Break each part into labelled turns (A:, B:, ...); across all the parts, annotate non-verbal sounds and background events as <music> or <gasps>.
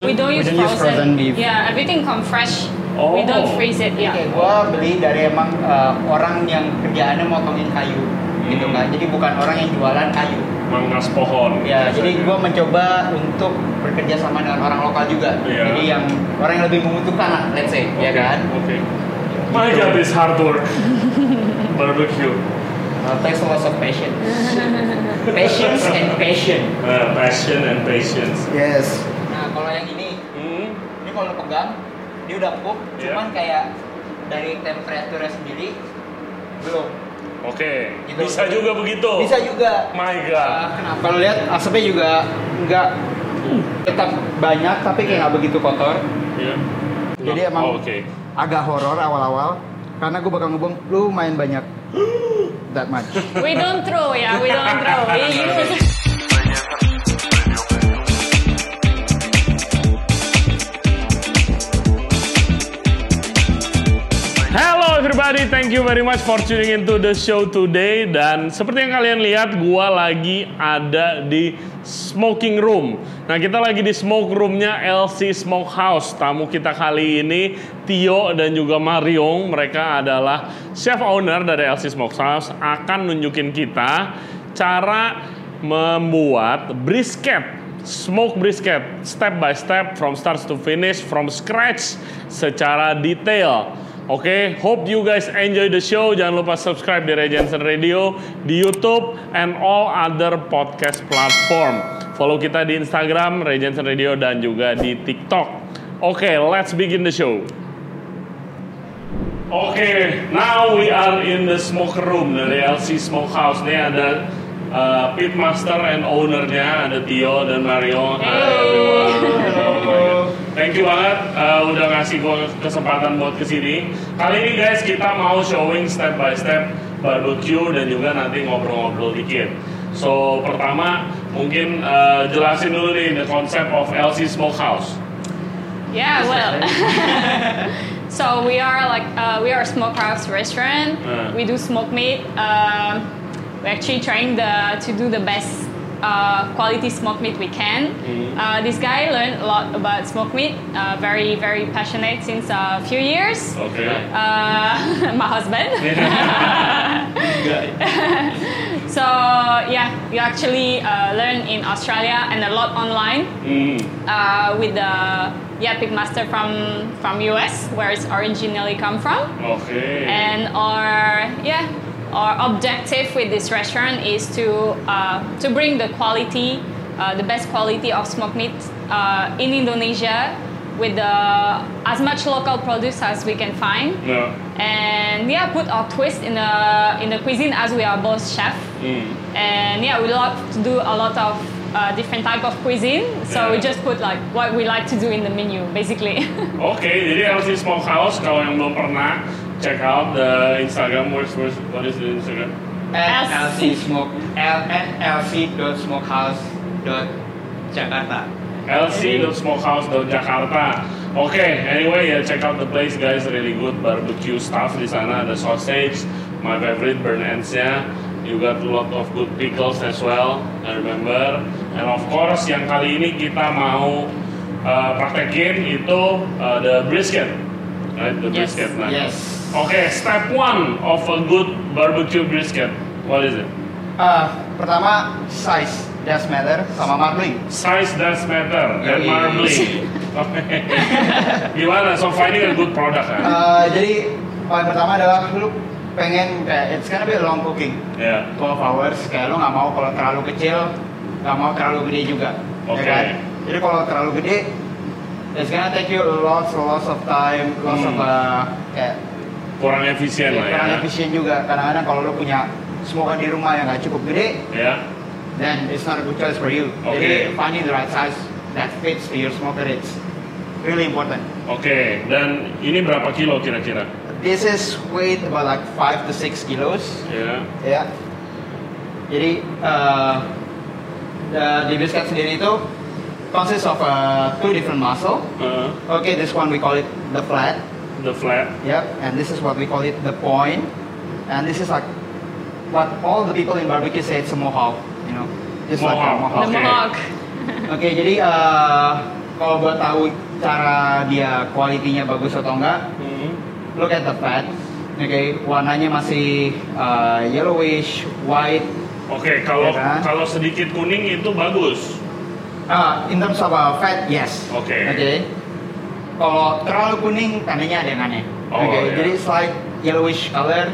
A: We don't use
B: don't use
A: frozen.
B: frozen beef.
A: Yeah, everything come fresh.
C: Oh.
A: We don't freeze it.
B: Oke,
A: Yeah.
B: <laughs> gue beli dari emang eh, orang yang kerjaannya motongin kayu gitu
C: Hmm. Iya,
B: kan. Jadi bukan orang yang jualan kayu.
C: Mangas pohon.
B: Ya, jadi
C: biasanya.
B: gue mencoba untuk bekerja sama dengan orang lokal juga.
C: Iya.
B: Jadi yang orang yang lebih membutuhkan lah, let's say, ya
C: Oke,
B: kan.
C: Oke. My job is
B: <laughs>
C: hard work. Barbecue.
B: Uh, takes lots of patience. patience and passion.
C: Uh, passion and patience.
B: Yes. Nah, kalau yang ini,
C: Hmm.
B: ini kalau lu pegang, dia udah empuk,
C: Iya.
B: cuman kayak dari temperaturnya sendiri belum.
C: Oke.
B: Gitu.
C: Bisa juga begitu.
B: Bisa juga.
C: My God.
B: Uh, kenapa lu lihat asapnya juga nggak tetap banyak tapi kayak nggak begitu kotor.
C: Iya.
B: Jadi emang
C: Oh, Oke.
B: agak horor awal-awal karena gue bakal ngomong lu main <gasps> banyak that much.
A: We don't throw. Yeah, we don't throw. We use.
C: Hello everybody, thank you very much for tuning into the show today dan seperti yang kalian lihat gua lagi ada di smoking room. Nah, kita lagi di smoke roomnya LC Smokehouse. Tamu kita kali ini Tio dan juga Mariong, mereka adalah chef owner dari LC Smokehouse akan nunjukin kita cara membuat brisket smoke brisket step by step from start to finish from scratch secara detail. Oke, hope you guys enjoy the show. Jangan lupa subscribe di Regensen Radio di YouTube and all other podcast platform. Follow kita di Instagram Regensen Radio dan juga di TikTok. Oke, let's begin the show. Oke, now we are in the smoke room dari LC Smokehouse. Ini ada uh, pit master and ownernya ada Tio dan Mario. Hi everyone. Oh my God. Thank you banget uh, udah ngasih gua kesempatan buat kesini. Kali ini guys kita mau showing step by step barbecue dan juga nanti ngobrol-ngobrol dikit. So pertama mungkin uh, jelasin dulu nih the concept of LC Smokehouse.
A: Yeah, well. <laughs> so we are like uh, we are a smokehouse restaurant.
C: Uh.
A: We do smoke meat. Um, we're actually trying the to do the best uh, quality smoke meat we can. Uh, this guy learned a lot about smoke meat. Uh, very very passionate since a few years.
C: Oke.
A: Uh, <laughs> my husband. So yeah, you actually uh, learn in Australia and a lot online
C: Hmm.
A: uh, with the yeah pitmaster from from US, where it's originally come from.
C: Oke.
A: And our yeah our objective with this restaurant is to uh, to bring the quality, uh, the best quality of smoked meat uh, in Indonesia with the, as much local produce as we can find.
C: Nah.
A: And yeah, put our twist in the in the cuisine as we are both chef.
C: Hmm.
B: Mm.
A: And yeah, we love to do a lot of uh, different type of cuisine. So we
C: Yeah.
A: just put like what we like to do in the menu, basically. <laughs>
C: Oke, jadi LC Smokehouse kalau yang belum pernah check out the Instagram where's, where's what is the Instagram?
B: At
A: LC.
B: LC Smoke, L at LC dot smokehouse dot Jakarta.
C: lc.smokehouse.jakarta. Oke, anyway ya check out the place guys, really good barbecue stuff di sana ada sausage, my favorite burn ends-nya. You got lot of good pickles as well, I remember. And of course yang kali ini kita mau uh, praktekin itu uh, the brisket. Right, the
A: Yes.
C: brisket. Nah.
B: Yes.
C: Oke, step one of a good barbecue brisket. What is it?
B: Ah, pertama size does matter sama marbling.
C: Size does matter, dan
B: Yes. <laughs>
C: marbling. Oke. <laughs> Gimana? So finding a good product kan?
B: Ah, jadi paling pertama adalah lu pengen kayak it's gonna be a long cooking
C: Ya.
B: 12 hours kayak lu nggak mau kalau terlalu kecil nggak mau terlalu gede juga ya kan?
C: Oke.
B: jadi kalau terlalu gede it's gonna take you lots lots of time lots of
C: Hmm.
B: uh, kayak
C: Kurang efisien lah ya.
B: kurang efisien juga kadang-kadang kalau lu punya smoker di rumah yang nggak cukup gede
C: Ya.
B: then it's not a good choice for you
C: Oke.
B: jadi finding the right size that fits to your smoker it's really important
C: Oke. Dan ini berapa kilo kira-kira?
B: this is weight about like 5 to 6 kilos
C: Ya.
B: ya jadi eh, eh, di brisket sendiri itu consists of eh, two different muscle
C: Eh,
B: okay this one we call it the flat
C: the flat.
B: yep and this is what we call it the point and this is like what all the people in barbecue say it's a mohawk you know just like a
C: Mohawk,
B: mohawk
A: The
C: Okay.
A: Mohawk.
B: okay jadi eh, kalau gua tahu cara dia kualitinya bagus atau enggak,
C: Hmm.
B: look at the fat. Oke, warnanya masih uh, yellowish, white.
C: Oke, kalau
B: Ya kan?
C: kalau sedikit kuning itu bagus.
B: Uh, in terms of uh, fat, yes.
C: Oke.
B: Oke. Kalau terlalu kuning, tandanya ada yang aneh.
C: Oh,
B: Oke,
C: iya.
B: jadi slight yellowish color,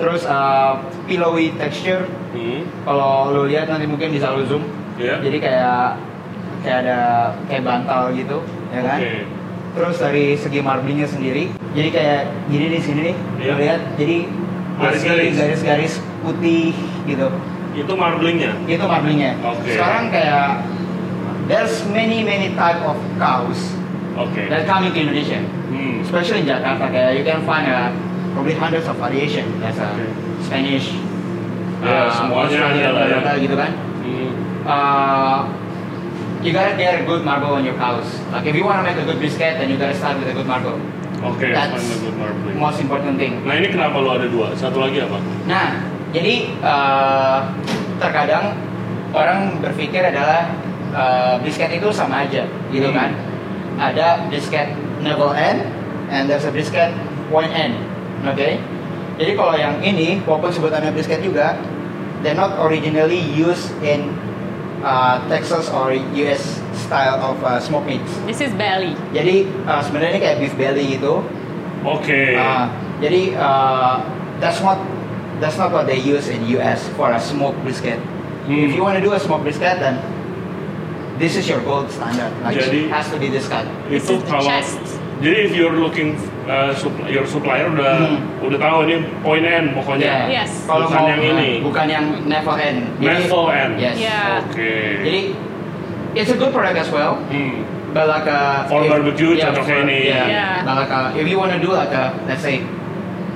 B: terus uh, pillowy texture.
C: Hmm.
B: Kalau lo lihat nanti mungkin bisa lo zoom.
C: Ya.
B: Jadi kayak kayak ada kayak bantal gitu, ya kan?
C: Oke.
B: Terus dari segi marblingnya sendiri, jadi kayak gini di sini nih,
C: Iya.
B: lo lihat, jadi masih
C: Garis-garis.
B: garis-garis putih gitu.
C: Itu marblingnya.
B: Itu marblingnya.
C: Oke.
B: Sekarang kayak there's many many type of cows
C: Oke.
B: that coming to Indonesia,
C: Hmm.
B: especially in Jakarta. Kayak you can find uh, probably hundreds of variation, There's uh,
C: Oke.
B: Spanish,
C: Ya,
B: uh,
C: semuanya
B: Australian,
C: ada lah ya.
B: Belanda gitu kan.
C: Hmm.
B: Uh, you gotta get a good marble on your cows. Like if you wanna make a good brisket, then you gotta start with a good marble.
C: Oke,
B: That's-
C: find a good marbling.
B: Most important thing.
C: Nah, ini kenapa lo ada dua? Satu lagi apa?
B: Nah, jadi uh, terkadang orang berpikir adalah uh, brisket itu sama aja, gitu
C: Hmm.
B: kan? Ada brisket level end, and there's a brisket point end, oke? Jadi kalau yang ini, walaupun sebutannya brisket juga, they're not originally used in uh, Texas or US style of uh, smoked meats.
A: This is belly.
B: Jadi uh, sebenarnya ini kayak beef belly gitu.
C: Oke.
B: Uh, jadi uh, that's not that's not what they use in US for a smoked brisket.
C: Hmm.
B: If you want to do a smoked brisket, then this is your gold standard. Like
C: Jadi-
B: it has to be this cut.
A: This
C: itu
A: is the
C: kalau
A: chest.
C: jadi if you're looking uh, supp- your supplier udah
B: Hmm.
C: udah tahu ini point end pokoknya.
A: Yeah. Yes.
B: Kalau
C: Bukan
B: mau-
C: yang ini.
B: Bukan yang never end. Jadi-
C: Never end.
B: Yes. Oh.
A: Yeah.
C: Oke.
B: Jadi it's a good product as well.
C: Hmm.
B: But like a
C: For
B: if-
C: barbecue,
B: yeah,
C: cocok
B: for-
C: ini.
B: Yeah.
A: Yeah.
B: But like a, if you want to do like a let's say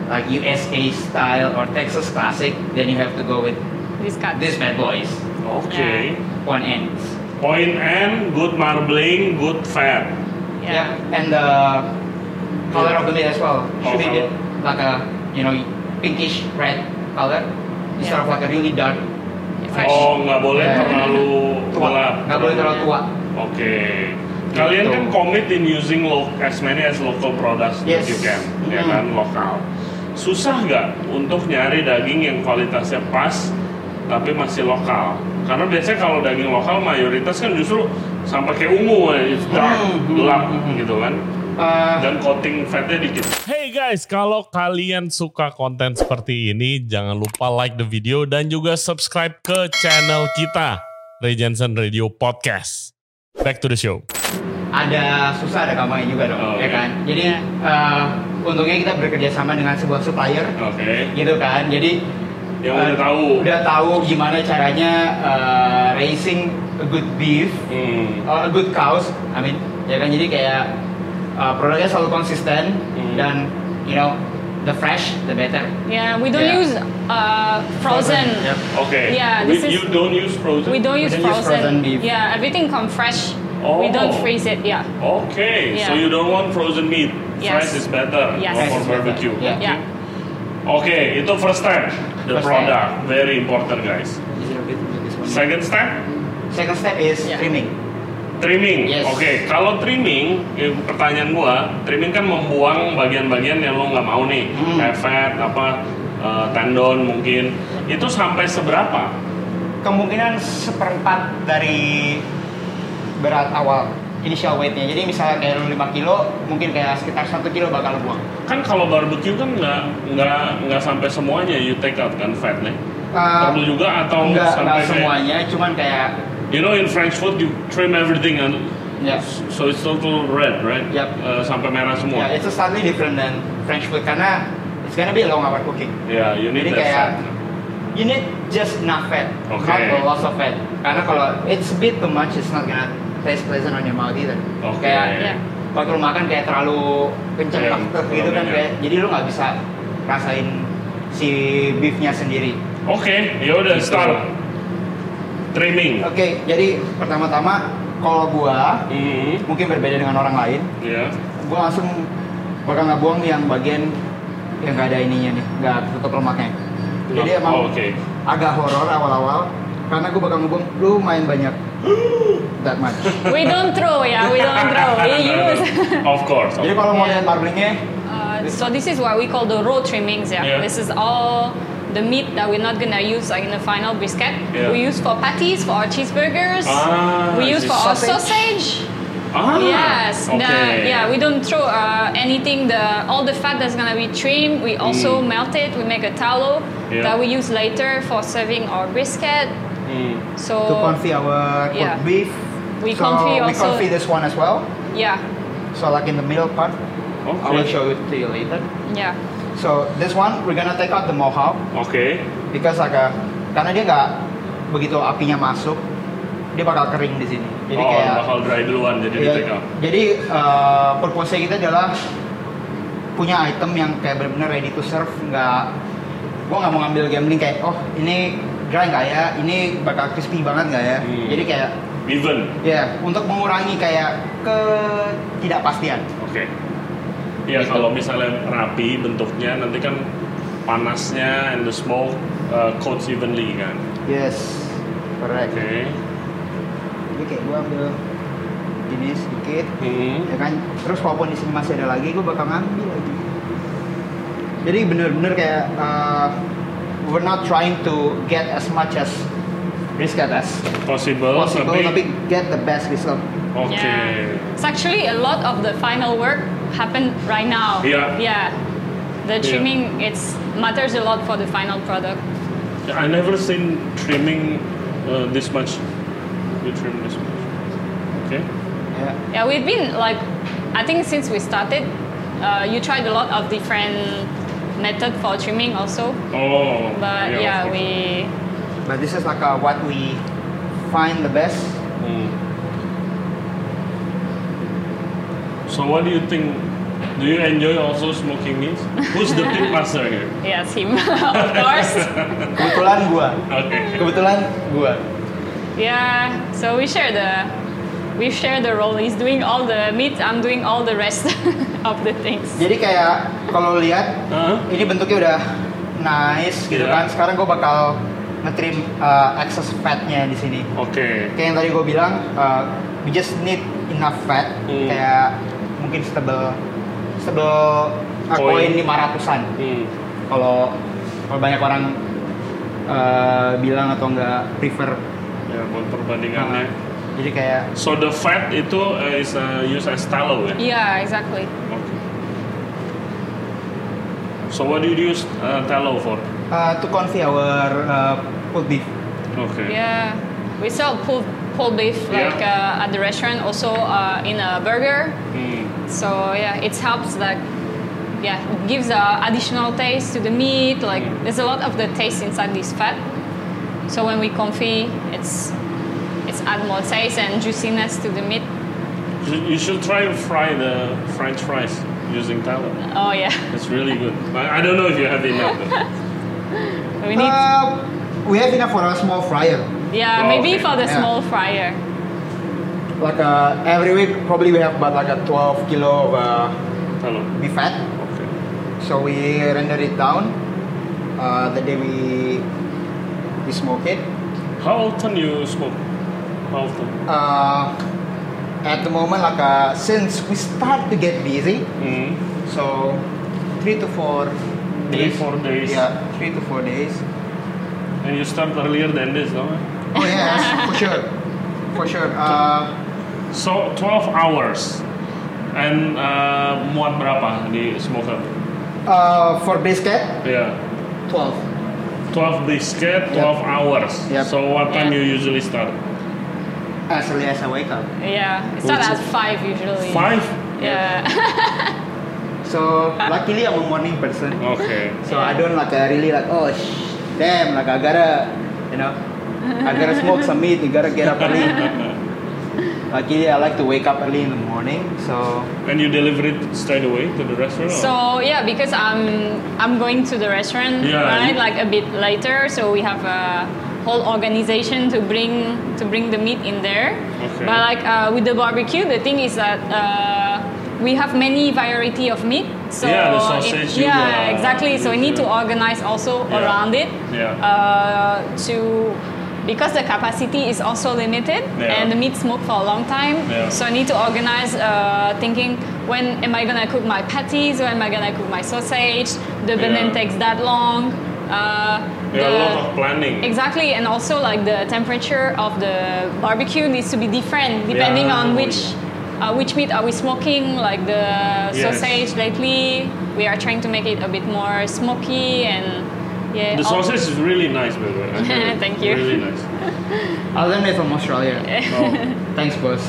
B: like USA style or Texas classic, then you have to go with
A: This cut.
B: this bad boys
C: Oke.
A: Yeah.
B: one ends.
C: Point end, good marbling, good fat.
A: Yeah.
B: And the color of the meat as well should be
C: Oh, color.
B: like a you know pinkish red color instead of like a really dark. Fresh.
C: Oh, nggak boleh
B: Yeah.
C: terlalu
B: Tua.
C: gelap.
B: Nggak boleh terlalu tua.
C: Oke. Kalian
B: Gitu.
C: kan commit in using lo- as many as local products that
B: Yes.
C: you can,
B: Mm.
C: ya kan lokal. Susah nggak untuk nyari daging yang kualitasnya pas tapi masih lokal? Karena biasanya kalau daging lokal mayoritas kan justru sampai kayak ungu, eh, it's dark,
B: Mm.
C: gelap gitu kan.
B: Uh,
C: Dan coating fatnya dikit.
D: Hey guys, kalau kalian suka konten seperti ini, jangan lupa like the video dan juga subscribe ke channel kita, Ray Jensen Radio Podcast. Back to the show.
B: ada susah ada gampangnya juga dong,
C: Oh,
B: ya
C: iya.
B: kan. Jadi uh, untungnya kita bekerja sama dengan sebuah supplier,
C: Oke.
B: gitu kan. Jadi
C: Yang
B: uh,
C: udah tahu.
B: udah tahu gimana caranya uh, raising a good beef
C: Hmm.
B: uh, a good cows, I mean, ya kan jadi kayak uh, produknya selalu konsisten
C: Hmm.
B: dan you know the fresh the better.
A: Yeah, we don't
B: Yeah.
A: use uh, frozen.
B: Yep.
C: Oke.
A: Yeah,
C: We-
A: this is-
C: you don't use frozen.
A: We don't
B: We
A: use
B: don't use
A: frozen.
B: frozen beef.
A: Yeah, everything come fresh. We don't
C: Oh.
A: freeze it. Yeah.
C: Okay, so
A: Yeah.
C: you don't want frozen meat.
A: Yes.
C: Fresh is better
A: Yes.
C: or
A: Fresh
C: for
B: is better,
C: barbecue.
B: yeah.
A: Yeah.
C: Okay, itu first step. The
B: First
C: product
B: step.
C: very important guys.
B: Is it a bit- this one?
C: Second step
B: Second step is
A: Yeah.
B: trimming.
C: trimming.
B: Yes.
C: Oke, kalau trimming, eh, pertanyaan gua, trimming kan membuang bagian-bagian yang lo nggak mau nih,
B: Hmm.
C: kayak fat apa eh, tendon mungkin. Itu sampai seberapa?
B: Kemungkinan seperempat dari berat awal initial weightnya. Jadi misalnya kayak lu 5 kilo, mungkin kayak sekitar 1 kilo bakal lu buang.
C: Kan kalau barbecue kan nggak nggak nggak sampai semuanya you take out kan fatnya.
B: Uh,
C: Perlu juga atau
B: enggak, enggak
C: sampai kayak-
B: semuanya, cuman kayak
C: You know in French food you trim everything and
B: ya
C: so it's total red, right?
B: Yep.
C: Uh, sampai merah semua.
B: ya, it's slightly different than French food karena it's gonna be a long hour cooking.
C: Yeah, Ya, you
B: Jadi
C: need that
B: kayak-
C: fat.
B: You need just enough fat,
C: Okay.
B: not a lot of fat. Karena kalau it's a bit too much, it's not gonna taste pleasant on your mouth either.
C: Oke.
B: Kayak ya.
A: Yeah.
B: waktu lu makan kayak terlalu kenceng
C: Iya,
B: yeah, gitu kan
C: terlalu
B: kayak, jadi lu nggak bisa rasain si beefnya sendiri.
C: Oke, yaudah
B: Gitu.
C: start trimming. Iya.
B: Oke, jadi pertama-tama kalau gua
C: Mhm.
B: mungkin berbeda dengan orang lain,
C: Ya.
B: gua langsung bakal nggak buang yang bagian yang nggak ada ininya nih, nggak tutup lemaknya. Jadi emang
C: Oh, Oke.
B: agak horor awal-awal karena gue bakal ngomong lu main banyak <gasps> that much.
A: We don't throw, yeah, we don't
C: <laughs>
A: throw.
B: <laughs>
A: We use.
C: of course.
B: Jadi kalau mau lihat marblingnya,
A: Uh, so this is what we call the raw trimmings. Yeah.
C: Yeah.
A: This is all the meat that we're not gonna use like in the final brisket.
C: Yeah.
A: We use for patties, for our cheeseburgers.
C: Ah,
A: we use for
C: this
A: our sausage.
B: sausage.
C: Ah,
A: yes. the-
C: okay.
A: yeah. We don't throw uh, anything. The all the fat that's gonna be trimmed, we also melt it. We make a tallow
C: Mm. Yeah.
A: that we use later for serving our brisket.
C: Hmm.
A: So
B: to confit our cooked
A: Yeah.
B: beef.
A: Oh, iya. We
B: so
A: confit
B: we
A: also-
B: confit this one as well.
A: yeah,
B: So like in the middle part, I will
C: Okay.
B: show it to you later.
A: yeah.
B: So this one we're gonna take out the mohawk
C: Oke.
B: because agak karena dia nggak begitu apinya masuk, dia bakal kering di sini. Jadi
C: oh,
B: kayak
C: bakal dry duluan jadi
B: ya,
C: di take out.
B: jadi eh, purpose kita adalah punya item yang kayak benar-benar ready to serve, nggak gua nggak mau ngambil gambling kayak oh ini dry nggak ya, ini bakal crispy banget nggak ya.
C: Hmm.
B: Jadi kayak
C: Even.
B: Ya, untuk mengurangi kayak ketidakpastian.
C: Oke. Iya
B: Gitu.
C: kalau misalnya rapi bentuknya nanti kan panasnya and the smoke uh, coats evenly kan.
B: Yes, correct.
C: Oke.
B: Jadi kayak gue ambil gini sedikit,
C: Hmm.
B: ya kan. Terus walaupun di sini masih ada lagi, gue bakal ngambil lagi. Jadi bener-bener kayak uh, we're not trying to get as much as brisket as
C: Possible,
B: possible,
C: Oh, tapi-
B: tapi get the best result.
C: Oke.
A: Yeah. It's actually a lot of the final work happen right now.
C: Yeah.
A: Yeah. The
C: Yeah.
A: trimming it's matters a lot for the final product.
C: I never seen trimming uh, this much. You trim this much. Oke.
B: Ya.
A: Yeah, we've been like I think since we started, uh, you tried a lot of different method for trimming also.
C: Oh.
A: But
C: of
A: yeah,
C: course.
A: we
B: But this is like uh, what we find the best.
C: Hmm. So what do you think? Do you enjoy also smoking
A: <laughs>
C: meats? Who's the pit master here?
A: yes him <laughs> of
C: <laughs>
A: course.
B: Kebetulan gua.
C: Okay.
B: Kebetulan gua.
A: Yeah. So we share the we share the role. He's doing all the meat, I'm doing all the rest <laughs> of the things.
B: Jadi kayak kalau lihat
C: Huh?
B: ini bentuknya udah nice gitu
C: Iya.
B: kan. Sekarang gue bakal ngetrim uh, excess fatnya di sini.
C: Okay.
B: Kayak yang tadi gue bilang, uh, we just need enough fat.
C: Hmm.
B: Kayak mungkin setebel setebel uh,
C: Koin.
B: koin 500-an.
C: Hmm.
B: Kalau kalau banyak orang uh, bilang atau nggak prefer. uh,
C: Ya buat perbandingannya.
B: Uh-huh. Jadi kayak
C: So the fat itu uh, is uh, used as tallow ya.
A: Yeah, exactly.
C: Okay. So what do you use uh, tallow for?
B: uh, to convey our uh, pulled beef.
C: Okay.
A: Yeah, we sell pulled pulled beef
C: Yeah.
A: like uh, at the restaurant, also uh, in a burger.
C: Hmm.
A: So yeah, it helps like yeah, it gives a additional taste to the meat. Like
C: Mm.
A: there's a lot of the taste inside this fat. So when we confit, it's it's add more taste and juiciness to the meat.
C: You- You should try and fry the French fries using tallow.
A: Oh yeah, <laughs>
C: It's really good. I, I don't know if you have enough. but-
A: we need
B: Uh, we have enough for a small fryer.
A: yeah
C: Wow,
A: maybe
C: okay.
A: for the
B: Yeah.
A: small fryer.
B: like uh, every week probably we have about like a 12 kilo of uh,
C: Tallow.
B: beef fat
C: Okay.
B: so we render it down uh, the day we we smoke it
C: How often you smoke? How often?
B: uh, at the moment like uh, since we start to get busy
C: Hmm.
B: so three to four
C: Three
B: days
C: four days.
B: yeah three to four days
C: And you start earlier than this, no?
B: oh <laughs> yes for sure for sure uh,
C: So 12 hours. And uh, muat berapa di smoker?
B: uh, for brisket
C: Yeah.
B: 12
C: 12 brisket, 12
B: Yep.
C: hours.
B: Yep.
C: So what time
A: Yeah.
C: you usually start?
B: as early as I wake up
A: Yeah, it's not
C: Which-
A: at five usually. <laughs>
C: 5?
A: Yeah.
B: so luckily I'm a morning person
C: Okay.
B: So I don't like uh, really like oh sh- damn like I gotta you know I gotta smoke some meat. You gotta get up early. Luckily I like to wake up early in the morning. So
C: And you deliver it straight away to the restaurant? or-
A: So yeah, because I'm I'm going to the restaurant
C: Yeah,
A: right
C: you-
A: like a bit later, so we have a whole organization to bring to bring the meat in there.
C: Okay.
A: But like uh, with the barbecue, the thing is that uh, we have many variety of meat. So
C: Yeah, the
A: it-
C: sausage, you
A: yeah,
C: got-
A: exactly. So we need to
C: Yeah.
A: organize also
C: Yeah.
A: around it
C: Yeah.
A: uh, to because the capacity is also limited
C: Yeah.
A: and the meat smoked for a long time.
C: Yeah.
A: So I need to organize uh, thinking when am I gonna cook my patties, when am I gonna cook my sausage, the banana
C: Yeah.
A: takes that long. Uh,
C: Yeah, a
A: the-
C: lot of planning.
A: Exactly, and also like the temperature of the barbecue needs to be different depending
C: Yeah.
A: on which uh, which meat are we smoking. Like the
C: Yes.
A: sausage lately, we are trying to make it a bit more smoky and yeah.
C: The
A: all-
C: sausage is really nice, by the way. I had it.
A: <laughs> Thank you.
C: Really
A: <laughs>
C: nice.
B: I'll learn it from Australia.
C: Oh.
B: Thanks, boss.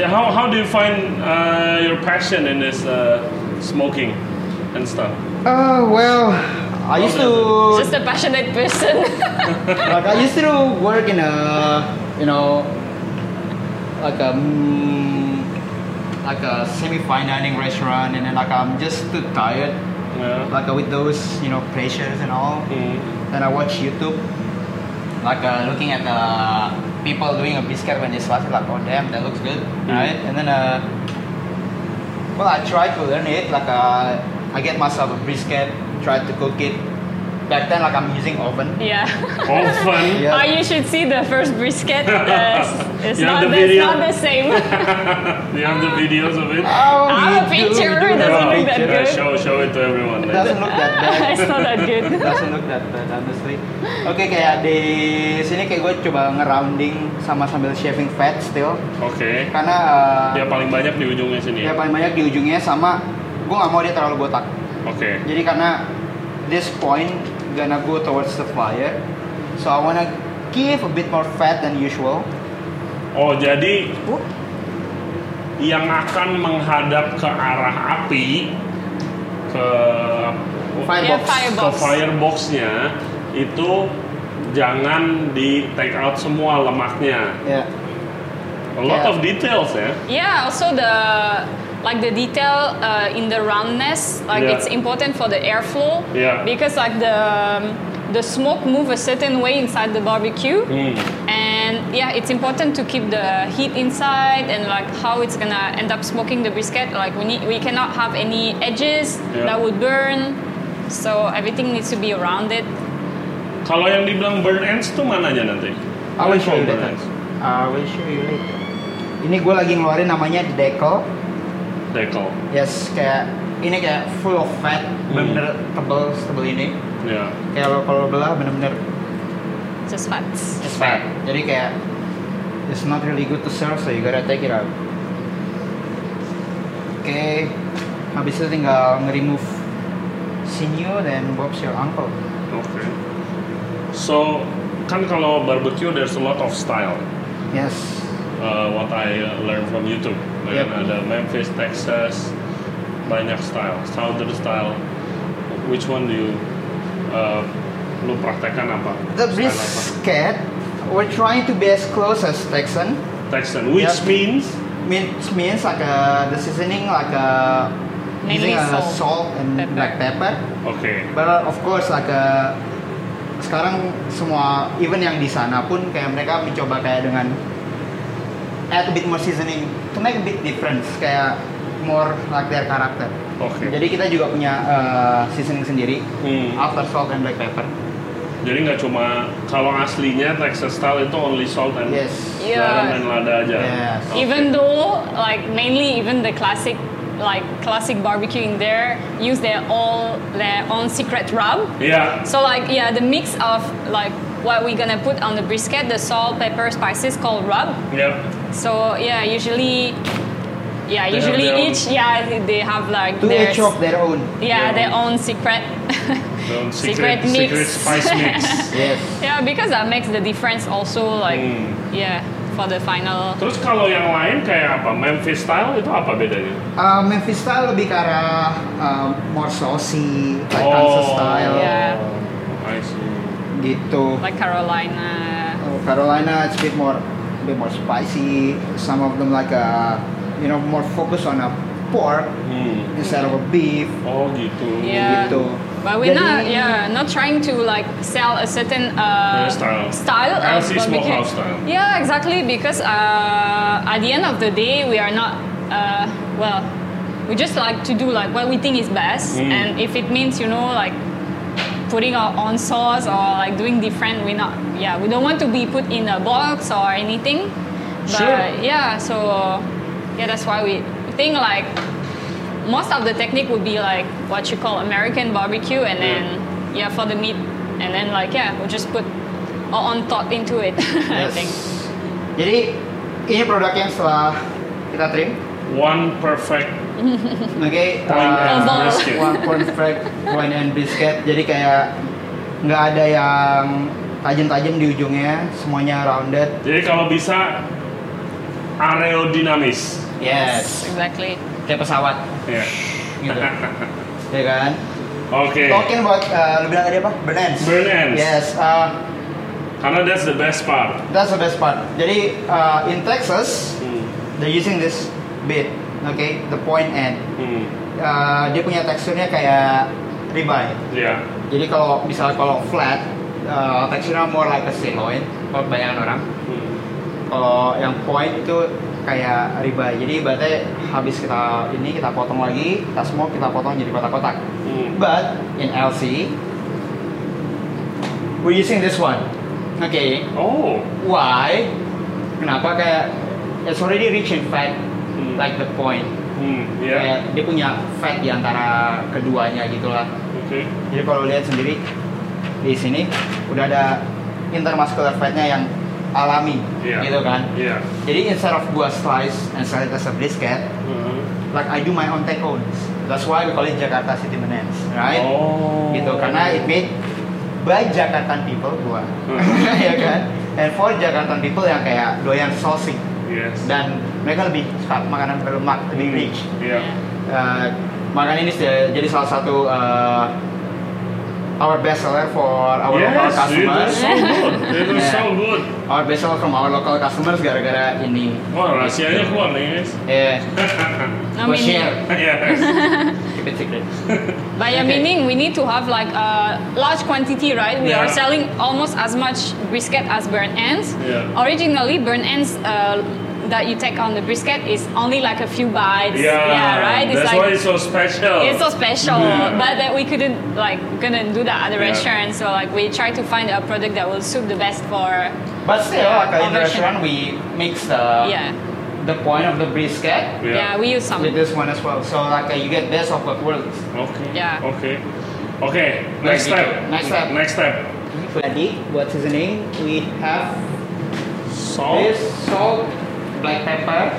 C: Yeah, how, how do you find uh, your passion in this uh, smoking and stuff?
B: Uh, well, I used to
A: Just a passionate person. <laughs>
B: like I used to work in a you know like a mm, like a semi-fine dining restaurant, and then like I'm just too tired
C: Yeah.
B: like uh, with those you know pressures and all.
C: Mm.
B: Then I watch YouTube, like uh, looking at uh, people doing a biscuit when they slice it, like oh damn, that looks good, right? And then uh, well, I try to learn it. Like uh, I get myself a brisket, try to cook it. Back then, like I'm using oven.
A: yeah. <laughs>
C: Often.
B: Yeah.
A: Oh, you should see the first
C: <laughs>
A: brisket. Uh, it's,
C: You have
A: not
C: the
A: the, it's
C: video?
A: not the same. <laughs>
C: Do you have the videos of it?
B: Oh,
A: Ah,
B: we do- we
A: picture,
B: do have
A: doesn't
B: a
A: look that
B: picture.
C: Yeah,
A: good.
C: show, show it to everyone.
B: It
C: later.
B: doesn't look that bad.
A: <laughs>
B: <laughs>
A: it's not that good.
B: doesn't look that bad honestly. Oke kayak di sini kayak gue coba ngerounding sama sambil shaving fat still
C: Oke.
B: karena uh,
C: Dia paling banyak di ujungnya sini.
B: ya
C: ya? Oke.
B: paling banyak di ujungnya sama gue nggak mau dia terlalu botak. Jadi karena this point gonna go towards the fire, so I wanna give a bit more fat than usual.
C: Oh, jadi yang akan menghadap ke arah api ke
A: Yeah,
B: Firebox.
C: ke
A: firebox.
C: fireboxnya itu jangan di take out semua lemaknya.
B: Ya.
C: A lot
B: Yeah.
C: of details ya.
A: Yeah, also the like the detail uh, in the roundness, like
C: Yeah.
A: it's important for the airflow.
C: Yeah.
A: Because like the the smoke move a certain way inside the barbecue,
C: Hmm.
A: and yeah, it's important to keep the heat inside and like how it's gonna end up smoking the brisket. Like we need we cannot have any edges
C: Yeah.
A: that would burn, so everything needs to be rounded.
C: Kalau yang dibilang burn ends tuh mananya nanti?
B: I will show you
C: Burn
B: later.
C: ends.
B: I will show you later. Ini gue lagi ngeluarin namanya deco.
C: Dekel.
B: Yes, kayak ini kayak full of fat, bener-bener tebel, tebel ini.
C: Ya.
B: Kayak lo kalau belah bener-bener
A: Just facts.
B: it's fat. Jadi kayak it's not really good to serve, so you gotta take it out. Oke, habis itu tinggal nge-remove sinew dan Bob's your uncle.
C: Oke. So kan kalau barbecue there's a lot of style.
B: Yes.
C: uh, what I uh, learned from YouTube. Kan
B: Yep.
C: ada Memphis, Texas, banyak style, Southern style. Which one do you uh, lu praktekkan apa?
B: The
C: Style apa?
B: brisket, we're trying to be as close as Texan,
C: Texan, which
B: Yep.
C: means
B: which means like a, the seasoning like a
A: Mainly
B: using a
A: salt.
B: salt and
A: Pepper.
B: black pepper.
C: oke,
B: But of course like uh, sekarang semua even yang di sana pun kayak mereka mencoba kayak dengan add a bit more seasoning to make a bit difference kayak more like their character.
C: oke.
B: Jadi kita juga punya uh, seasoning sendiri
C: Hmm.
B: after salt and black pepper.
C: Jadi nggak cuma kalau aslinya Texas style itu only salt and
B: Yes.
C: garam
A: Yeah.
C: dan lada aja.
B: Yes.
C: Oke.
A: even though like mainly even the classic like classic barbecue in there use their all their own secret rub
C: Iya.
A: so like yeah the mix of like what we're gonna put on the brisket the salt pepper spices called rub
C: Yep.
A: so yeah usually yeah
C: They have
A: usually
C: their own-
A: each yeah they- they have like
B: To
A: their
B: each of their own.
A: yeah their
C: their
A: own secret <laughs>
C: Don't
A: Secret
C: secret,
A: mix.
C: secret spice
A: <laughs>
C: mix.
B: Yes.
A: yeah because that makes the difference also like
C: Hmm.
A: yeah for the final
C: Terus kalau yang lain kayak apa? Memphis style itu apa bedanya?
B: Uh, Memphis style lebih ke arah uh, more saucy, like
C: Oh.
B: Kansas style
A: Yeah.
C: I see.
B: gitu.
A: like Carolina
B: Oh, Carolina, it's a bit more, a bit more spicy. Some of them like a, you know, more focus on a pork
C: Hmm.
B: instead of a beef.
C: Oh gitu.
A: Yeah.
B: Gitu.
A: But we're not,
B: Jadi-
A: yeah, not trying to like sell a certain uh,
C: Yeah, style.
A: style of
C: LC
A: barbecue.
C: Smokehouse style.
A: Yeah, exactly. Because uh, at the end of the day, we are not, uh, well, we just like to do like what we think is best,
C: Mm.
A: and if it means you know like putting our own sauce or like doing different. We're not. Yeah, we don't want to be put in a box or anything. But
C: Sure.
A: yeah, so yeah, that's why we think like most of the technique would be like what you call American barbecue, and then yeah, for the meat, and then like yeah, we just put our own thought into it. <laughs> I
B: Yes.
A: think.
B: Jadi ini produknya setelah kita trim, <laughs>
C: One perfect
B: oke?
C: point
B: uh,
C: and
A: Oval.
C: brisket.
B: one corn fried one and biscuit jadi kayak nggak ada yang tajam-tajam di ujungnya semuanya rounded
C: Jadi kalau bisa aerodinamis.
B: yes
A: Exactly.
B: kayak pesawat
C: Ya.
B: gitu <laughs> ya kan
C: Oke.
B: talking about uh, lu bilang tadi apa burn ends
C: Burn ends.
B: yes uh,
C: Karena that's the best part.
B: that's the best part jadi uh, in Texas they're using this bit okay the point end
C: Hmm.
B: Uh, dia punya teksturnya kayak ribeye
C: Ya.
B: jadi kalau misalnya kalau flat uh, teksturnya more like a sirloin kalau bayangan orang
C: Hmm.
B: kalau yang point itu kayak riba jadi berarti habis kita ini kita potong lagi kita semua kita potong jadi kotak-kotak
C: Hmm.
B: but in LC we're using this one oke
C: Oh.
B: why kenapa kayak it's already rich in fat
C: Hmm.
B: like the point
C: Hmm. Ya.
B: kayak dia punya fat di antara keduanya gitulah
C: Oke.
B: jadi kalau lihat sendiri di sini udah ada intermuscular fatnya yang alami
C: Iya.
B: gitu kan
C: Ya.
B: jadi instead of gua slice and sell it as a brisket,
C: Hmm.
B: like I do my own take owns. That's why we call it Jakarta City Menance, right?
C: Oh.
B: Gitu karena it made by Jakartan people gua,
C: Hmm.
B: <laughs> ya kan? And for Jakartan people yang kayak doyan saucy
C: Yes.
B: dan mereka lebih suka makanan berlemak, lebih rich.
C: Ya.
B: Uh, makanya ini sudah jadi salah satu uh, our best seller for our local
C: Yes, it
B: customers. Iya.
C: is so good. It is
B: Yeah.
C: so good.
B: Our best seller from our local customers gara-gara ini.
C: Wah, rahasianya keluar nih, guys. <laughs>
B: Yeah.
A: I
B: Gua
A: mean-
B: share.
C: Yes.
A: <laughs>
B: Keep it secret.
A: By a
B: Okay.
A: meaning, we need to have like a large quantity, right? We
C: Yeah.
A: are selling almost as much brisket as burn ends.
C: Yeah.
A: Originally, burn ends uh, that you take on the brisket is only like a few bites.
C: Yeah,
A: right. It's
C: Iya. That's
A: like
C: why it's so special.
A: it's so special,
C: Oh. Yeah.
A: but that we couldn't like couldn't do that at the
C: Yeah.
A: restaurant. So like we try to find a product that will suit the best for
B: But still,
A: Yeah,
B: like in
A: conversion.
B: the restaurant, we mix
C: Ah.
B: the
A: yeah
B: the point of the brisket
A: yeah, we use some
B: with this one as well. So like uh, you get best of both worlds.
C: Oke.
A: Yeah.
C: Oke. Oke.
B: Like
C: Next step.
B: gitu. Next step.
C: Next step.
B: Jadi buat seasoning, we have
C: Salt.
B: this salt, black pepper,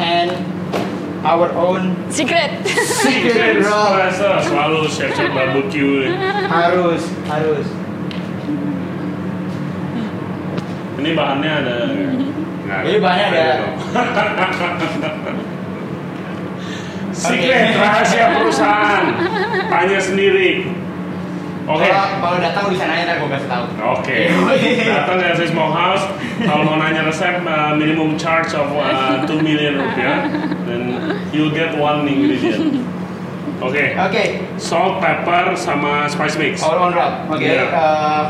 B: and our own
A: secret.
B: secret raw.
C: rasa selalu chef chef barbecue.
B: harus harus.
C: Ini bahannya ada. Nggak
B: Ini bahannya ada.
C: Secret rahasia perusahaan. Tanya sendiri. Oke.
B: Kalau kalau datang bisa nanya, ntar gue kasih tahu.
C: Oke, datang dari Small House. Kalau mau nanya resep, uh, minimum charge of uh, 2 million rupiah, then you'll get one ingredient. Oke,
B: Oke,
C: salt, pepper, sama spice mix. Oke,
B: all on wrap. Oke.
C: Iya.
B: eh,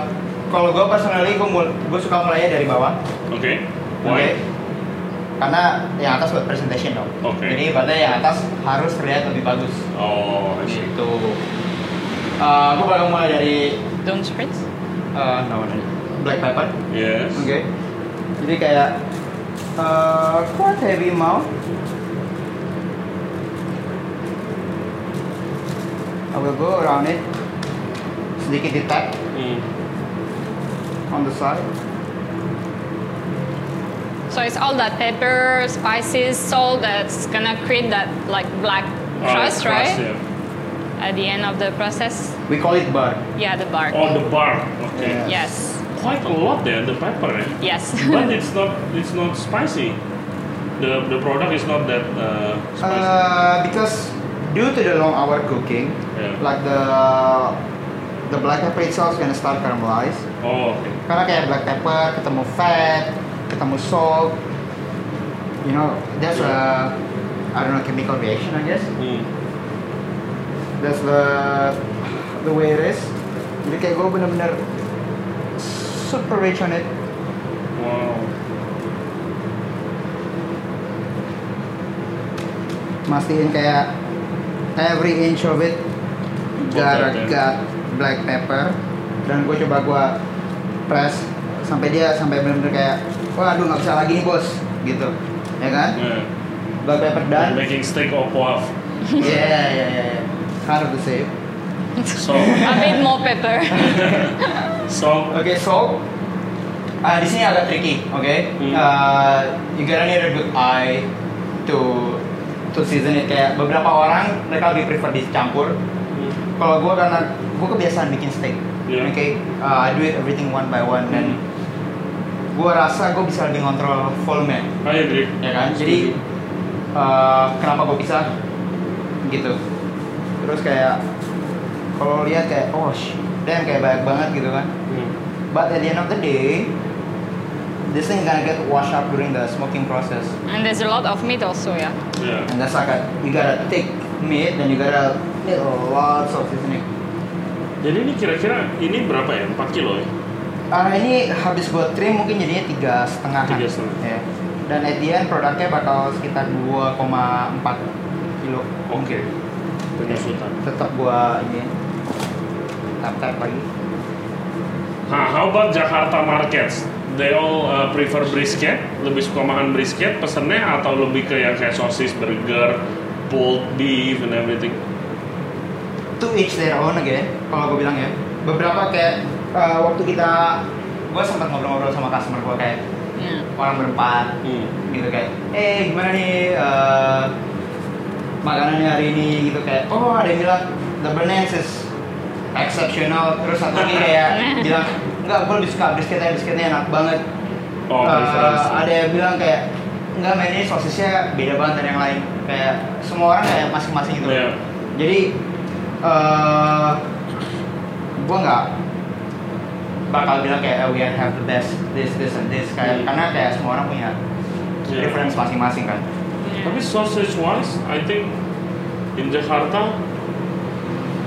B: kalau gue personally, gue mul- gue suka mulainya dari bawah. Oke.
C: why?
B: Karena yang atas buat presentation dong.
C: Oke.
B: Jadi berarti yang atas harus terlihat lebih bagus.
C: Oh, I see.
B: Gitu. Eh, gue bakal mulai dari
A: <laughs> Don't spritz.
B: eh, no, no, black pepper.
C: Yes.
B: Oke. Jadi kayak eh quite heavy amount. I will go around it sedikit di tap
C: Hmm.
B: on the side.
A: So it's all that pepper, spices, salt that's gonna create that like black
C: Oh,
A: crust, right?
C: yeah.
A: At the end of the process,
B: We call it bar.
A: yeah, the bark.
C: Oh, the bark. Okay.
B: Yeah.
A: Yes,
C: Quite a lot there, the pepper. Eh?
B: <laughs>
A: yes.
C: But it's not, it's not spicy. The the product is not that uh, spicy.
B: Uh, because due to the long hour cooking,
C: Yeah.
B: like the the black pepper itself is gonna start caramelize.
C: oh, okay.
B: Karena kayak black pepper ketemu fat, ketemu salt, you know, that's a I don't know chemical reaction I guess.
C: Hmm.
B: That's the the way it is. Jadi kayak gue bener-bener super rich on it.
C: Wow.
B: Mastiin kayak every inch of it
C: Black
B: got
C: pepper.
B: got black pepper dan gue coba gue press sampai dia sampai benar-benar kayak wah aduh nggak bisa lagi nih bos gitu ya kan
C: Yeah.
B: black pepper dan
C: Like making steak or
B: <laughs>
C: poaf.
B: yeah yeah yeah yeah. hard to say
C: Salt,
A: <laughs> A bit more pepper. <laughs>
C: salt.
B: oke so ah, di sini agak tricky oke
C: Hmm.
B: Ah, you gotta need a good eye to to season it kayak beberapa orang mereka lebih prefer dicampur
C: hmm.
B: kalau gue karena gue kebiasaan bikin steak
C: Yeah.
B: oke uh, I do it everything one by one
C: Hmm.
B: dan gue rasa gue bisa lebih ngontrol volume
C: I agree.
B: ya kan jadi uh, kenapa gue bisa gitu terus kayak kalau lihat kayak oh sh- damn kayak banyak banget gitu kan
C: Hmm.
B: but at the end of the day this thing gonna get washed up during the smoking process
A: And there's a lot of meat also, yeah.
C: Yeah.
B: and that's like a, you gotta thick meat and you gotta need lots of seasoning
C: Jadi ini kira-kira ini berapa ya? 4 kilo ya?
B: Karena ini habis gue trim mungkin jadinya tiga setengah.
C: Tiga setengah.
B: Ya. Dan at the end produknya bakal sekitar 2,4 kilo.
C: Oke. Penyusutan.
B: Tetap gua ini tap tap lagi.
C: Nah, how about Jakarta markets? They all uh, prefer brisket, lebih suka makan brisket pesennya atau lebih ke yang kayak sosis, burger, pulled beef and everything.
B: To each their own again. Kalau gue bilang ya. Beberapa kayak eh, waktu kita gue sempat ngobrol-ngobrol sama customer gue kayak
A: Yeah.
B: orang berempat gitu kayak eh gimana nih eh, makanannya hari ini gitu kayak oh ada yang bilang the bernese is exceptional terus satu lagi kayak bilang enggak gue lebih suka brisketnya brisketnya enak banget Eh,
C: Oh, preference.
B: ada yang bilang kayak enggak men ini sosisnya beda banget dari yang lain kayak semua orang kayak masing-masing gitu
C: Iya.
B: jadi eh gue nggak bakal bilang kayak "Oh, we have the best this this and this kayak
C: Hmm.
B: karena kayak semua orang punya
C: Iya.
B: preference masing-masing kan
C: Tapi sausage wise, I think in Jakarta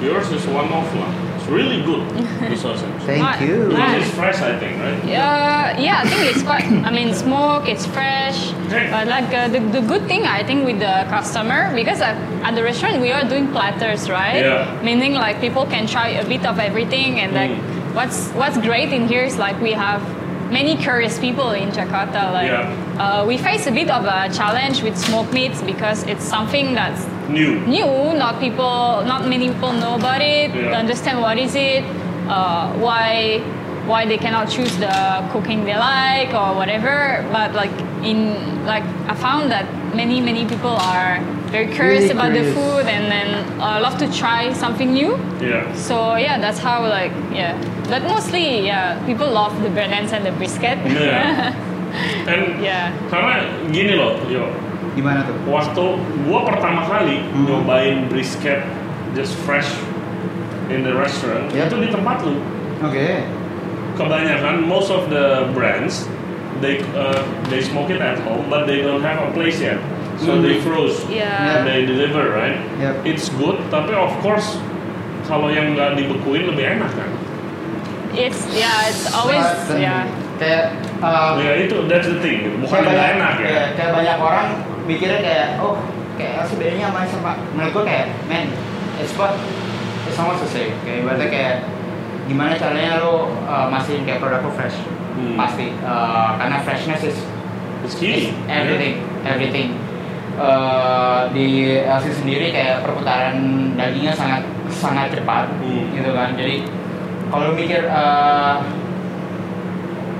C: yours is one off lah. It's really good
B: <laughs>
C: the sausage.
B: thank
A: Right.
B: you
A: Right.
C: Because it's fresh, I think, right?
A: Uh, yeah, I think it's quite. I mean, smoke. It's fresh.
C: Okay.
A: But like uh, the, the good thing, I think, with the customer because at, at the restaurant we are doing platters, right?
C: Yeah.
A: Meaning like people can try a bit of everything, and like
C: Mm.
A: what's what's great in here is like we have many curious people in Jakarta. Like
C: Yeah.
A: uh, we face a bit of a challenge with smoked meats because it's something that's
C: New.
A: new. Not people, not many people know about it.
C: Yeah.
A: Understand what is it, uh, why, why they cannot choose the cooking they like or whatever. But like in like I found that many many people are very curious
B: Really
A: about the
B: curious.
A: food and then uh, love to try something new.
B: <laughs>
C: Yeah.
A: So yeah, that's how like yeah. But mostly yeah, people love the bernans and the brisket.
C: Yeah. And
A: Yeah.
C: karena gini loh, yo.
B: gimana tuh
C: waktu gua pertama kali
B: Hmm.
C: nyobain brisket just fresh in the restaurant
B: Yeah.
C: itu di tempat lu
B: oke
C: kebanyakan most of the brands they uh, they smoke it at home but they don't have a place yet so
B: Mm.
C: they froze
A: Yeah.
C: and they deliver right
B: Yep.
C: it's good tapi of course kalau yang nggak dibekuin lebih enak kan
A: It's yeah. It's always
B: Serat dan-
A: yeah.
B: kayak um,
C: ya itu that's the thing bukan
B: kayak
C: nggak enak ya
B: iya, kayak banyak orang mikirnya kayak oh kayak LC bedanya sama sama menurut gue kayak men it's what it's almost the same kayak ibaratnya kayak gimana caranya lo uh, masihin kayak produk lo fresh
C: Hmm.
B: pasti Uh, karena freshness is
C: it's
B: Is
C: key
B: everything, everything. Eh, di LC sendiri kayak perputaran dagingnya sangat sangat cepat,
C: Hmm.
B: gitu kan. Jadi kalau lu mikir eh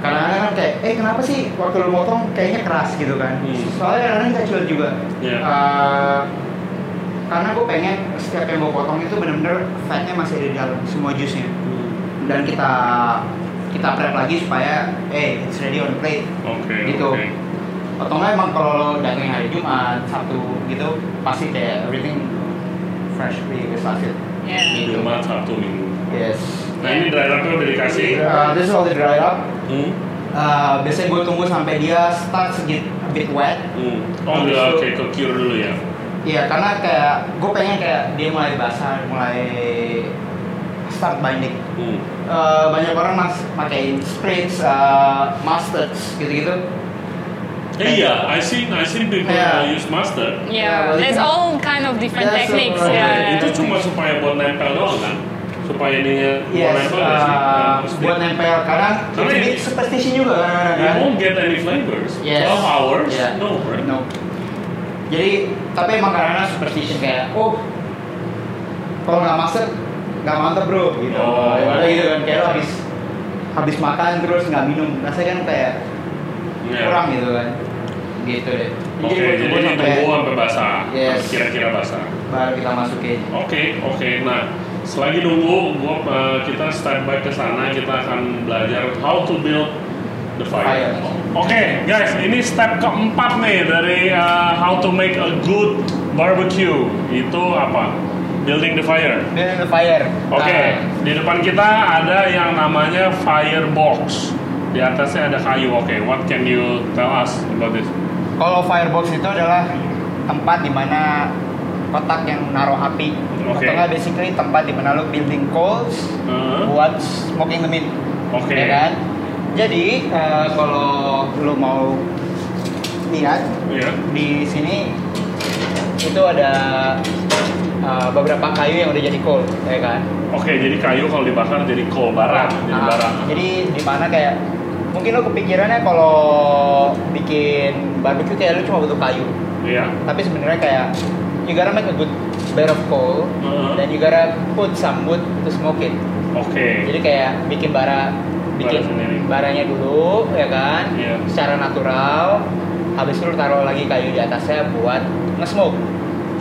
B: kadang-kadang kan kayak, eh kenapa sih waktu lu motong kayaknya keras gitu kan?
C: Hmm.
B: Soalnya kadang-kadang kita jual juga.
C: Iya.
B: Eh, karena gue pengen setiap yang gue potong itu bener-bener fatnya masih ada di dalam semua jusnya
C: Hmm.
B: dan kita kita prep lagi supaya eh it's ready on the plate
C: oke
B: Gitu.
C: oke.
B: atau nggak emang kalau lo datang hari Jumat, Sabtu gitu pasti kayak everything freshly started.
A: Yeah.
B: Gitu.
C: Jumat satu minggu
B: Yes.
C: nah ini dry rubnya udah dikasih
B: Uh, this is all the dry up.
C: Hmm.
B: Uh, biasanya gue tunggu sampai dia start sedikit a bit wet.
C: Hmm. Oh,
B: Habis
C: udah
B: itu-
C: kayak ke cure dulu ya.
B: Iya, karena kayak gue pengen kayak dia mulai basah, mulai start binding.
C: Hmm.
B: Eh, uh, banyak orang mas pakai spritz, eh, mustards gitu-gitu.
C: Yeah, iya, I seen I seen people
B: Yeah.
C: uh, use
B: Yeah,
C: mustard.
A: Yeah,
B: well,
A: there's
B: yeah.
A: all kind of different
B: Yeah, so,
A: techniques.
B: uh,
A: yeah.
C: Eh, Itu cuma supaya buat nempel doang kan? Supaya ininya buat
B: Yes,
C: nempel nggak sih?
B: uh,
C: Nah, stick.
B: buat nempel karena
C: Karena
B: ini
C: ini-
B: superstisi juga kadang-kadang
C: You
B: kan.
C: won't get any flavors.
B: Yes.
C: 12 hours,
B: Yeah.
C: no, right?
B: No. Jadi tapi emang karena superstition kayak oh kalau nggak masak nggak mantep bro gitu.
C: Oh.
B: Daripada gitu kan kayak lo habis habis makan terus nggak minum rasanya kan kayak
C: Yeah.
B: kurang gitu kan. Gitu deh.
C: Iya. Oke, jadi
B: gue sampai
C: ditunggu sampai basah.
B: Yes.
C: Kira-kira basah.
B: baru kita masukin.
C: Oke, oke. Nah, selagi nunggu, gua uh, kita step back ke sana, kita akan belajar how to build the fire.
B: Fire.
C: Oke, guys, ini step keempat nih dari uh, how to make a good barbecue. Itu apa? Building the fire.
B: Dan fire.
C: Oke,
B: Nah.
C: di depan kita ada yang namanya firebox. Di atasnya ada kayu. Oke, what can you tell us about this?
B: Kalau firebox itu adalah tempat di mana kotak yang naruh api.
C: Oke.
B: Atau nggak basically tempat di mana lo building coals
C: Uh,
B: buat smoking the meat.
C: Oke.
B: Ya kan? Jadi eh, kalau lo mau lihat
C: ya.
B: di sini itu ada eh, beberapa kayu yang udah jadi coal, ya kan?
C: Oke, jadi kayu kalau dibakar jadi coal bara, jadi
B: Ah,
C: bara.
B: Jadi di mana kayak mungkin lo kepikirannya kalau bikin barbecue kayak lo cuma butuh kayu,
C: Iya.
B: tapi sebenarnya kayak you gotta make a good bed of coal
C: Uh-huh.
B: dan you gotta put some wood to smoke it.
C: Oke.
B: Jadi kayak bikin bara, bikin
C: sendiri.
B: baranya dulu, ya kan?
C: Iya.
B: Secara natural. Habis itu lu taruh lagi kayu di atasnya buat nge-smoke.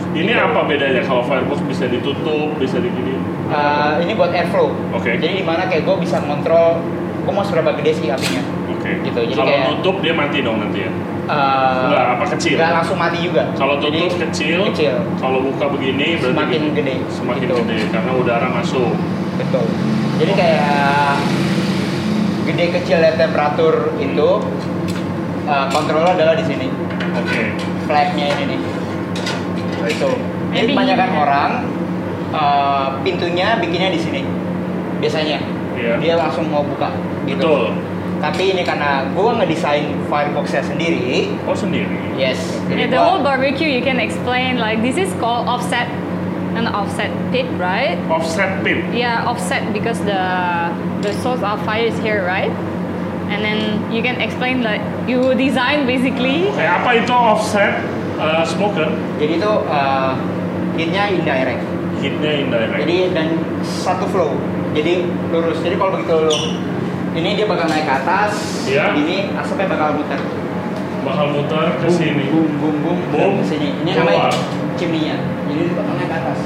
C: Ini
B: gitu.
C: apa bedanya kalau firebox bisa ditutup, bisa begini?
B: Uh, ini buat airflow.
C: Oke.
B: Jadi dimana kayak gue bisa kontrol gue mau seberapa gede sih apinya.
C: Oke.
B: gitu, jadi
C: Kalau
B: kayak-
C: nutup dia mati dong nanti ya.
B: Uh,
C: Enggak, apa kecil?
B: nggak langsung mati juga.
C: ya. Kalau
B: Jadi,
C: tutup kecil,
B: Kecil.
C: kalau buka begini berarti
B: Semakin
C: gini.
B: gede,
C: Semakin
B: gitu.
C: gede karena udara masuk.
B: Betul. Jadi kayak gede kecilnya temperatur itu uh, kontrolnya adalah di sini.
C: Oke.
B: Gitu. flagnya ini nih itu jadi ya?
A: Maybe.
B: kebanyakan orang eh, pintunya bikinnya di sini biasanya
C: Iya.
B: dia langsung mau buka gitu
C: Betul.
B: tapi ini karena gue ngedesain fireboxnya sendiri
C: Oh sendiri.
B: yes
A: Yeah, the whole barbecue you can explain like this is called offset, an offset pit, right?
C: Offset pit.
A: Yeah, offset because the the source of fire is here, right? And then you can explain like you design basically.
C: Oke, apa itu offset uh, smoker?
B: jadi itu eh, hitnya indirect
C: Hitnya indirect.
B: jadi dan satu flow jadi lurus jadi kalau begitu lu ini dia bakal naik ke atas
C: Iya.
B: ini asapnya bakal muter
C: bakal muter ke sini.
B: bum bum bum
C: Bum,
B: ke sini ini
C: keluar.
B: namanya chimney-nya jadi dia bakal naik ke atas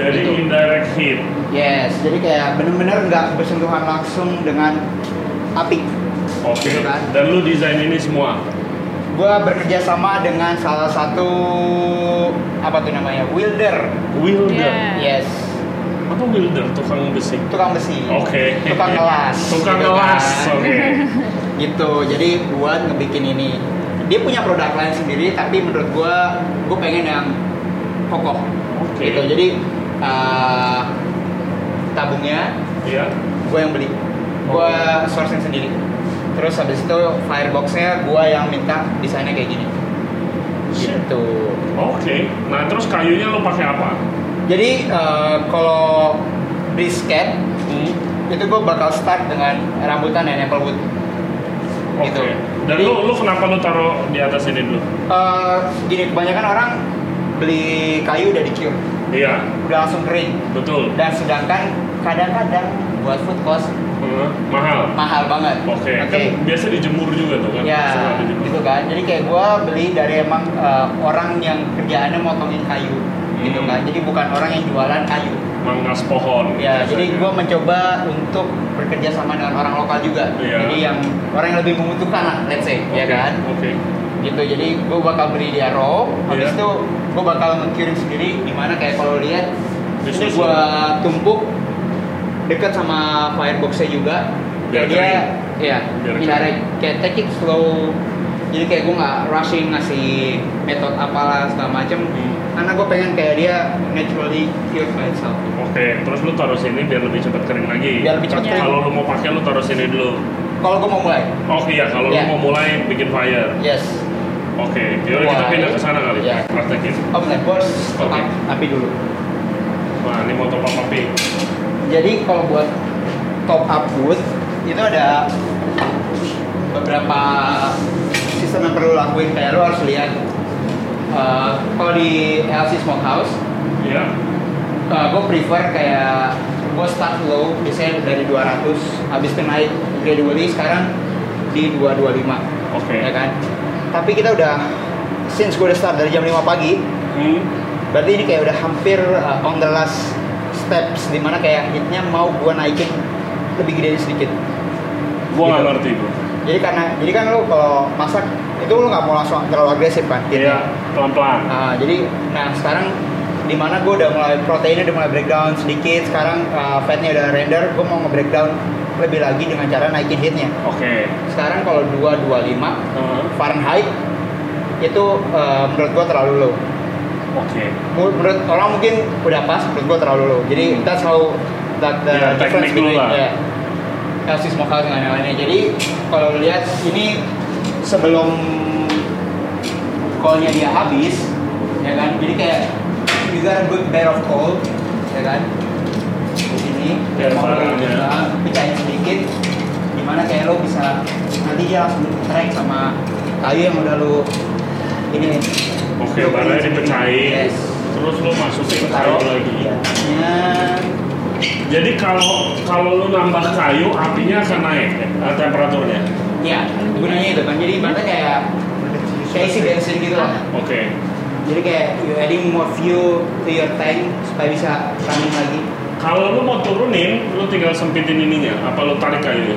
C: Jadi
B: Gitu.
C: indirect hit.
B: Yes, jadi kayak bener-bener nggak bersentuhan langsung dengan api.
C: Oke.
B: Gitu kan.
C: Dan lu desain ini semua.
B: Gua bekerja sama dengan salah satu apa tuh namanya welder.
C: Wilder.
A: Yeah.
B: Yes,
C: Apa wilder? Tukang besi.
B: tukang besi.
C: Oke.
B: Tukang kan. kelas.
C: Tukang kelas. Oke.
B: <laughs> Gitu. Jadi buat ngebikin ini. Dia punya produk lain sendiri, tapi menurut gua, gua pengen yang kokoh.
C: Oke.
B: Gitu. Jadi eh, tabungnya
C: Iya.
B: gue yang beli gue sourcing sendiri terus habis itu fireboxnya gue yang minta desainnya kayak gini
C: Shit.
B: gitu
C: Oke. Nah, terus kayunya lu pakai apa?
B: jadi eh, kalau brisket
C: Hmm.
B: itu gue bakal start dengan rambutan dan apple wood
C: Oke.
B: Gitu.
C: Dan
B: Jadi-
C: lu lu kenapa lu taruh di atas ini dulu?
B: Eh, gini kebanyakan orang beli kayu udah di cure
C: Iya.
B: udah langsung kering
C: Betul.
B: dan sedangkan kadang-kadang buat food cost
C: Hmm, Mahal.
B: mahal banget
C: Oke.
B: oke
C: Kan biasa dijemur juga tuh kan? Suka
B: Ya,
C: dijemur.
B: gitu kan. Jadi kayak gue beli dari emang eh, orang yang kerjaannya motongin kayu, gitu
C: Hmm.
B: kan. Jadi bukan orang yang jualan kayu.
C: Manggas pohon.
B: Ya, jadi
C: biasanya.
B: gue mencoba untuk bekerja sama dengan orang lokal juga.
C: Iya.
B: Jadi yang orang yang lebih membutuhkan lah, let's say, ya
C: Oke,
B: kan.
C: Oke.
B: Gitu. Jadi gue bakal beli dia raw, habis
C: Iya.
B: itu gue bakal mengkirim sendiri. Dimana kayak kalau lihat, ini
C: Disusun.
B: gue tumpuk dekat sama fireboxnya juga. Biar
C: Biar
B: dia,
C: kering.
B: ya,
C: Biar
B: indirect. Kayak take it slow. Jadi kayak gue nggak rushing ngasih metode apalah segala macem.
C: Hmm.
B: Karena gue pengen kayak dia naturally cure by itself.
C: Oke, terus lu taruh sini biar lebih cepat kering lagi.
B: Biar lebih cepat
C: Tapi
B: kering.
C: Kalau lu mau pakai lu taruh sini dulu.
B: Kalau gue mau mulai,
C: Oke ya, kalau
B: Iya.
C: lu mau mulai bikin fire.
B: yes.
C: Oke, yaudah kita
B: Why?
C: pindah ke sana kali.
B: Ya.
C: Praktekin.
B: Open bos, kotak api dulu.
C: Wah, Nah, ini motor Papa P.
B: Jadi kalau buat top up booth itu ada beberapa sistem yang perlu lakuin kayak lo harus lihat eh, kalau di LC Smokehouse
C: Iya.
B: gue prefer kayak gue start low biasanya dari 200 habis itu naik gradually sekarang di 225
C: Oke.
B: ya kan tapi kita udah since gue udah start dari jam 5 pagi
C: Hmm.
B: berarti ini kayak udah hampir uh, on the last steps dimana kayak hitnya mau gue naikin lebih gede sedikit
C: Gua nggak
B: Gitu.
C: ngerti bro.
B: jadi karena jadi kan lo kalau masak itu lo nggak mau langsung terlalu agresif kan
C: Iya,
B: hitnya.
C: pelan-pelan.
B: Nah, jadi nah sekarang di mana gue udah mulai proteinnya udah mulai breakdown sedikit sekarang uh, fatnya udah render gue mau nge-breakdown lebih lagi dengan cara naikin hitnya
C: Oke.
B: sekarang kalau 225
C: Heeh.
B: Fahrenheit itu uh, menurut gue terlalu low
C: Oke.
B: Mu- menurut orang mungkin udah pas menurut gua terlalu low jadi that's how that the
C: Ya, Hmm. teknik
B: difference
C: dulu
B: between
C: lah.
B: yeah, Elsis Mokal dengan yang lainnya jadi kalau lu lihat ini sebelum call-nya dia habis ya kan jadi kayak you got a good pair of call ya kan di sini
C: Ya,
B: mau
C: parah, ya.
B: nah, pecahin sedikit dimana kayak lo bisa nanti dia langsung track sama kayu yang udah lo ini
C: Oke,
B: lo
C: barangnya
B: pecahin
C: dipecahin.
B: sedikit. Yes Iya.
C: Terus lo masukin kayu
B: taruh
C: lagi.
B: lagi apinya
C: Jadi kalau kalau lo nambah kayu, apinya akan naik eh, temperaturnya.
B: ya gunanya itu kan jadi ibaratnya kayak kayak isi bensin gitu lah
C: Oke.
B: jadi kayak you adding more fuel to your tank supaya bisa running lagi
C: Kalau lo mau turunin, lo tinggal sempitin ininya. Apa lo tarik kayunya?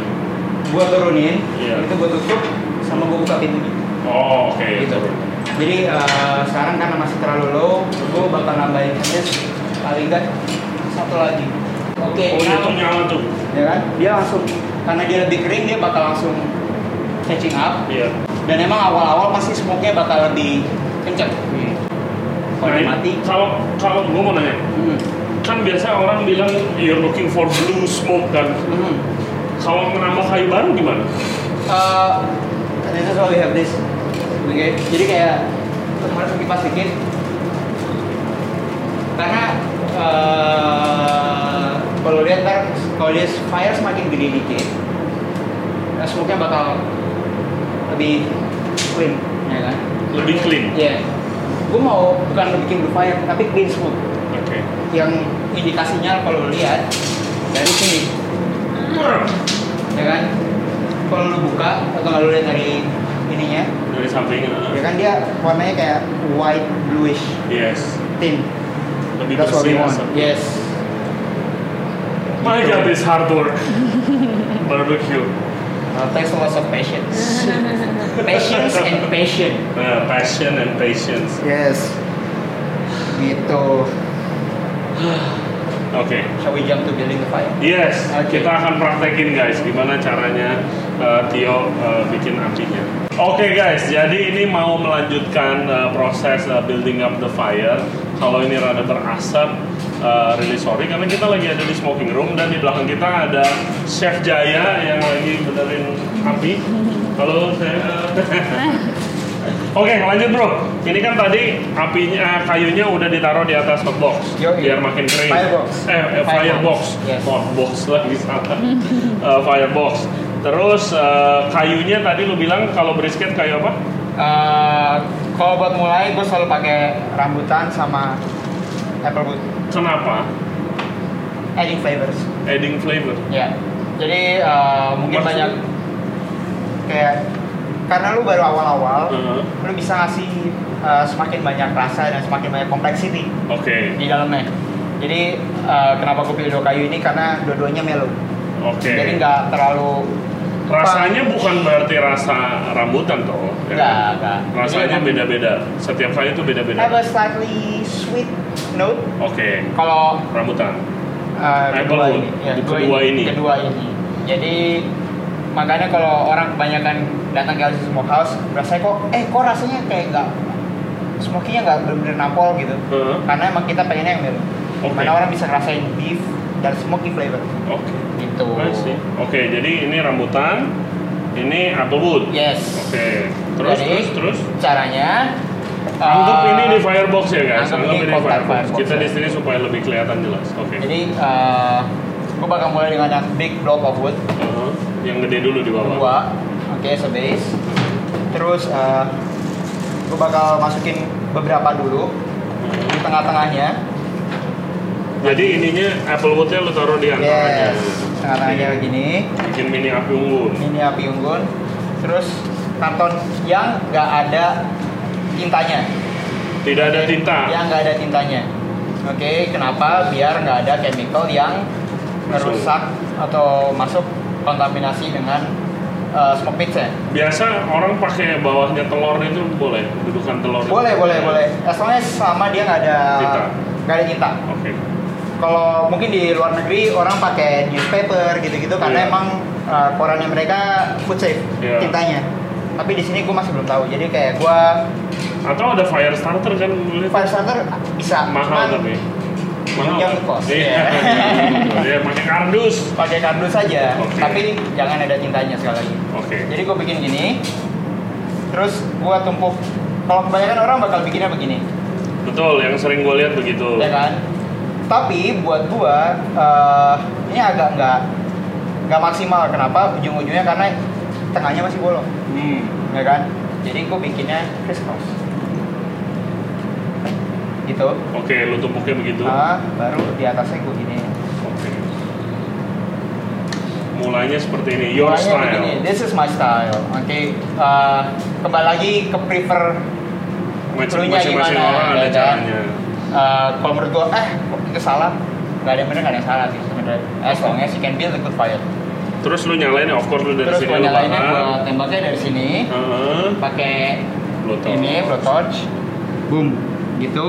B: gua turunin
C: Iya.
B: itu gua tutup sama gua buka pintunya
C: Oh, oke.
B: gitu jadi eh, sekarang karena masih terlalu low gua bakal nambahin just paling nggak satu lagi oke
C: Oh,
B: now-
C: itu nyala tuh.
B: ya kan dia langsung karena dia lebih kering dia bakal langsung catching up
C: Iya.
B: dan emang awal-awal pasti smoke-nya bakal lebih kenceng kalau
C: Nah,
B: dia mati
C: Kalau kalau gue mau nanya,
B: hmm,
C: kan biasa orang bilang you're looking for blue smoke kan.
B: hmm.
C: Kalau menambah kayu baru gimana?
B: Eh, this is why we have this Oke, jadi kayak kemarin sempat kipas dikit karena eh, kalau lihat ntar kalau dia fire semakin gede dikit nah smoke-nya bakal lebih clean ya kan
C: Lebih clean. Oke.
B: Iya. Gue mau bukan bikin blue fire, tapi clean smoke. Yang indikasinya kalau lu lihat dari sini, ya kan? Kalau lu buka atau kalau lu lihat dari ininya,
C: Dari samping.
B: ya kan dia warnanya kayak white bluish
C: Yes.
B: tint.
C: Lebih
B: That's what we
C: bersih.
B: want.
C: asap.
B: Yes.
C: My God, it's hard work. <laughs> Barbecue.
B: Uh, takes a lot of patience. patience and passion.
C: Nah, passion and patience.
B: Yes. Gitu.
C: Oke.
B: Shall we jump to building the fire?
C: Yes,
B: Oke.
C: kita akan praktekin guys gimana caranya uh, Tio uh, bikin apinya. Oke guys, jadi ini mau melanjutkan uh, proses uh, building up the fire. Kalau ini rada berasap, uh, really sorry karena kita lagi ada di smoking room dan di belakang kita ada Chef Jaya yang lagi benerin api. Halo, saya. Oke, lanjut bro. Ini kan tadi apinya kayunya udah ditaruh di atas hotbox
B: Yoi.
C: biar makin kering.
B: Firebox.
C: Eh, eh, firebox.
B: Firebox. Yes.
C: Hotbox lagi
B: <laughs>
C: salah. Eh, firebox. Terus eh, kayunya tadi lu bilang kalau brisket kayu apa?
B: Eh, kalau buat mulai gue selalu pakai rambutan sama apple wood
C: Kenapa?
B: adding flavors
C: Adding flavor.
B: ya jadi eh, mungkin
C: Maksud-
B: banyak kayak karena lu baru awal-awal
C: Heeh.
B: lu bisa ngasih eh, semakin banyak rasa dan semakin banyak complexity
C: Oke,
B: di dalamnya jadi eh, kenapa gue pilih dua kayu ini karena dua-duanya mellow
C: oke.
B: jadi nggak terlalu
C: Rasanya bukan berarti rasa rambutan toh. ya
B: Nggak,
C: kan?
B: nggak.
C: Rasanya
B: Jadi emang-
C: beda-beda. Setiap kayu itu
B: have
C: beda-beda.
B: a slightly sweet note
C: Oke,
B: kalau
C: rambutan.
B: Eh,
C: Apple
B: kedua
C: Wood.
B: ini. Ya,
C: Di
B: kedua
C: kedua
B: ini.
C: ini.
B: Kedua ini. Jadi makanya kalau orang kebanyakan datang ke LC Smokehouse, rasanya kok eh kok rasanya kayak nggak smokinya nggak benar-benar nampol gitu.
C: Heeh.
B: Karena emang kita pengennya yang mirip.
C: Oke.
B: Mana orang bisa ngerasain beef dan smoky flavor
C: Oke.
B: gitu.
C: I see. Oke, jadi ini rambutan, Ini applewood.
B: Yes.
C: Oke. Terus
B: Iya. Jadi,
C: terus terus.
B: Caranya
C: Anggap
B: eh,
C: ini di firebox ya guys.
B: anggap
C: Anggap
B: ini
C: ini
B: kontak
C: firebox.
B: firebox
C: Kita
B: ya.
C: di sini supaya lebih kelihatan jelas. Oke.
B: Jadi gue bakal mulai dengan yang big block of wood
C: Uh-huh. Yang gede dulu di bawah. Hmm.
B: dua, oke as a base. Terus gue bakal masukin beberapa dulu di tengah-tengahnya.
C: Jadi ininya applewoodnya lu taruh di antaranya.
B: Yes,
C: Iya.
B: tengah-tengahnya begini.
C: Bikin mini api unggun.
B: Ini api unggun. Terus karton yang nggak ada tintanya,
C: Tidak ada tinta.
B: yang nggak ada tintanya. Oke, kenapa? Biar nggak ada chemical yang
C: Masuk.
B: merusak atau masuk kontaminasi dengan eh, smoke pits ya.
C: Biasa orang pakai bawahnya telur itu boleh, dudukan telur. itu?
B: Boleh, boleh, boleh. As long as sama dia nggak ada
C: Tinta.
B: nggak ada tinta.
C: Oke.
B: Kalau mungkin di luar negeri orang pakai newspaper gitu-gitu karena
C: Iya.
B: emang uh, korannya mereka food safe
C: Iya.
B: tintanya. Tapi di sini gue masih belum tahu. Jadi kayak gua
C: Atau ada fire starter kan? boleh.
B: fire starter bisa
C: mahal
B: cuman ya.
C: tapi mahal
B: yang kos.
C: <laughs> iya Iya, pakai kardus
B: pakai kardus saja.
C: Oke.
B: Tapi jangan ada tintanya sekali lagi.
C: oke
B: Jadi gue bikin gini. Terus gua tumpuk. Kalau kebanyakan orang bakal bikinnya begini.
C: betul yang sering gue lihat begitu
B: ya kan tapi buat gua eh, ini agak nggak nggak maksimal kenapa ujung-ujungnya karena tengahnya masih bolong
C: hmm.
B: ya kan jadi gua bikinnya criss cross gitu
C: oke lu tumpuknya begitu
B: Ah, baru di atasnya gua gini
C: oke mulainya seperti ini your
B: Warnanya
C: style
B: begini. this is my style oke eh, kembali lagi ke prefer
C: Macam-
B: Perlunya
C: masing-masing
B: gimana,
C: orang ada
B: ya kan?
C: caranya
B: eh, kalau menurut gua eh kok itu salah nggak ada yang benar nggak ada yang salah sih sebenarnya as long as you can build a good fire
C: terus lu nyalain ya, of course lu dari
B: terus
C: sini
B: gua
C: lu
B: nyalainnya
C: bakar.
B: gua tembaknya dari sini
C: Heeh,
B: pakai
C: Bluetooth.
B: ini blowtorch boom gitu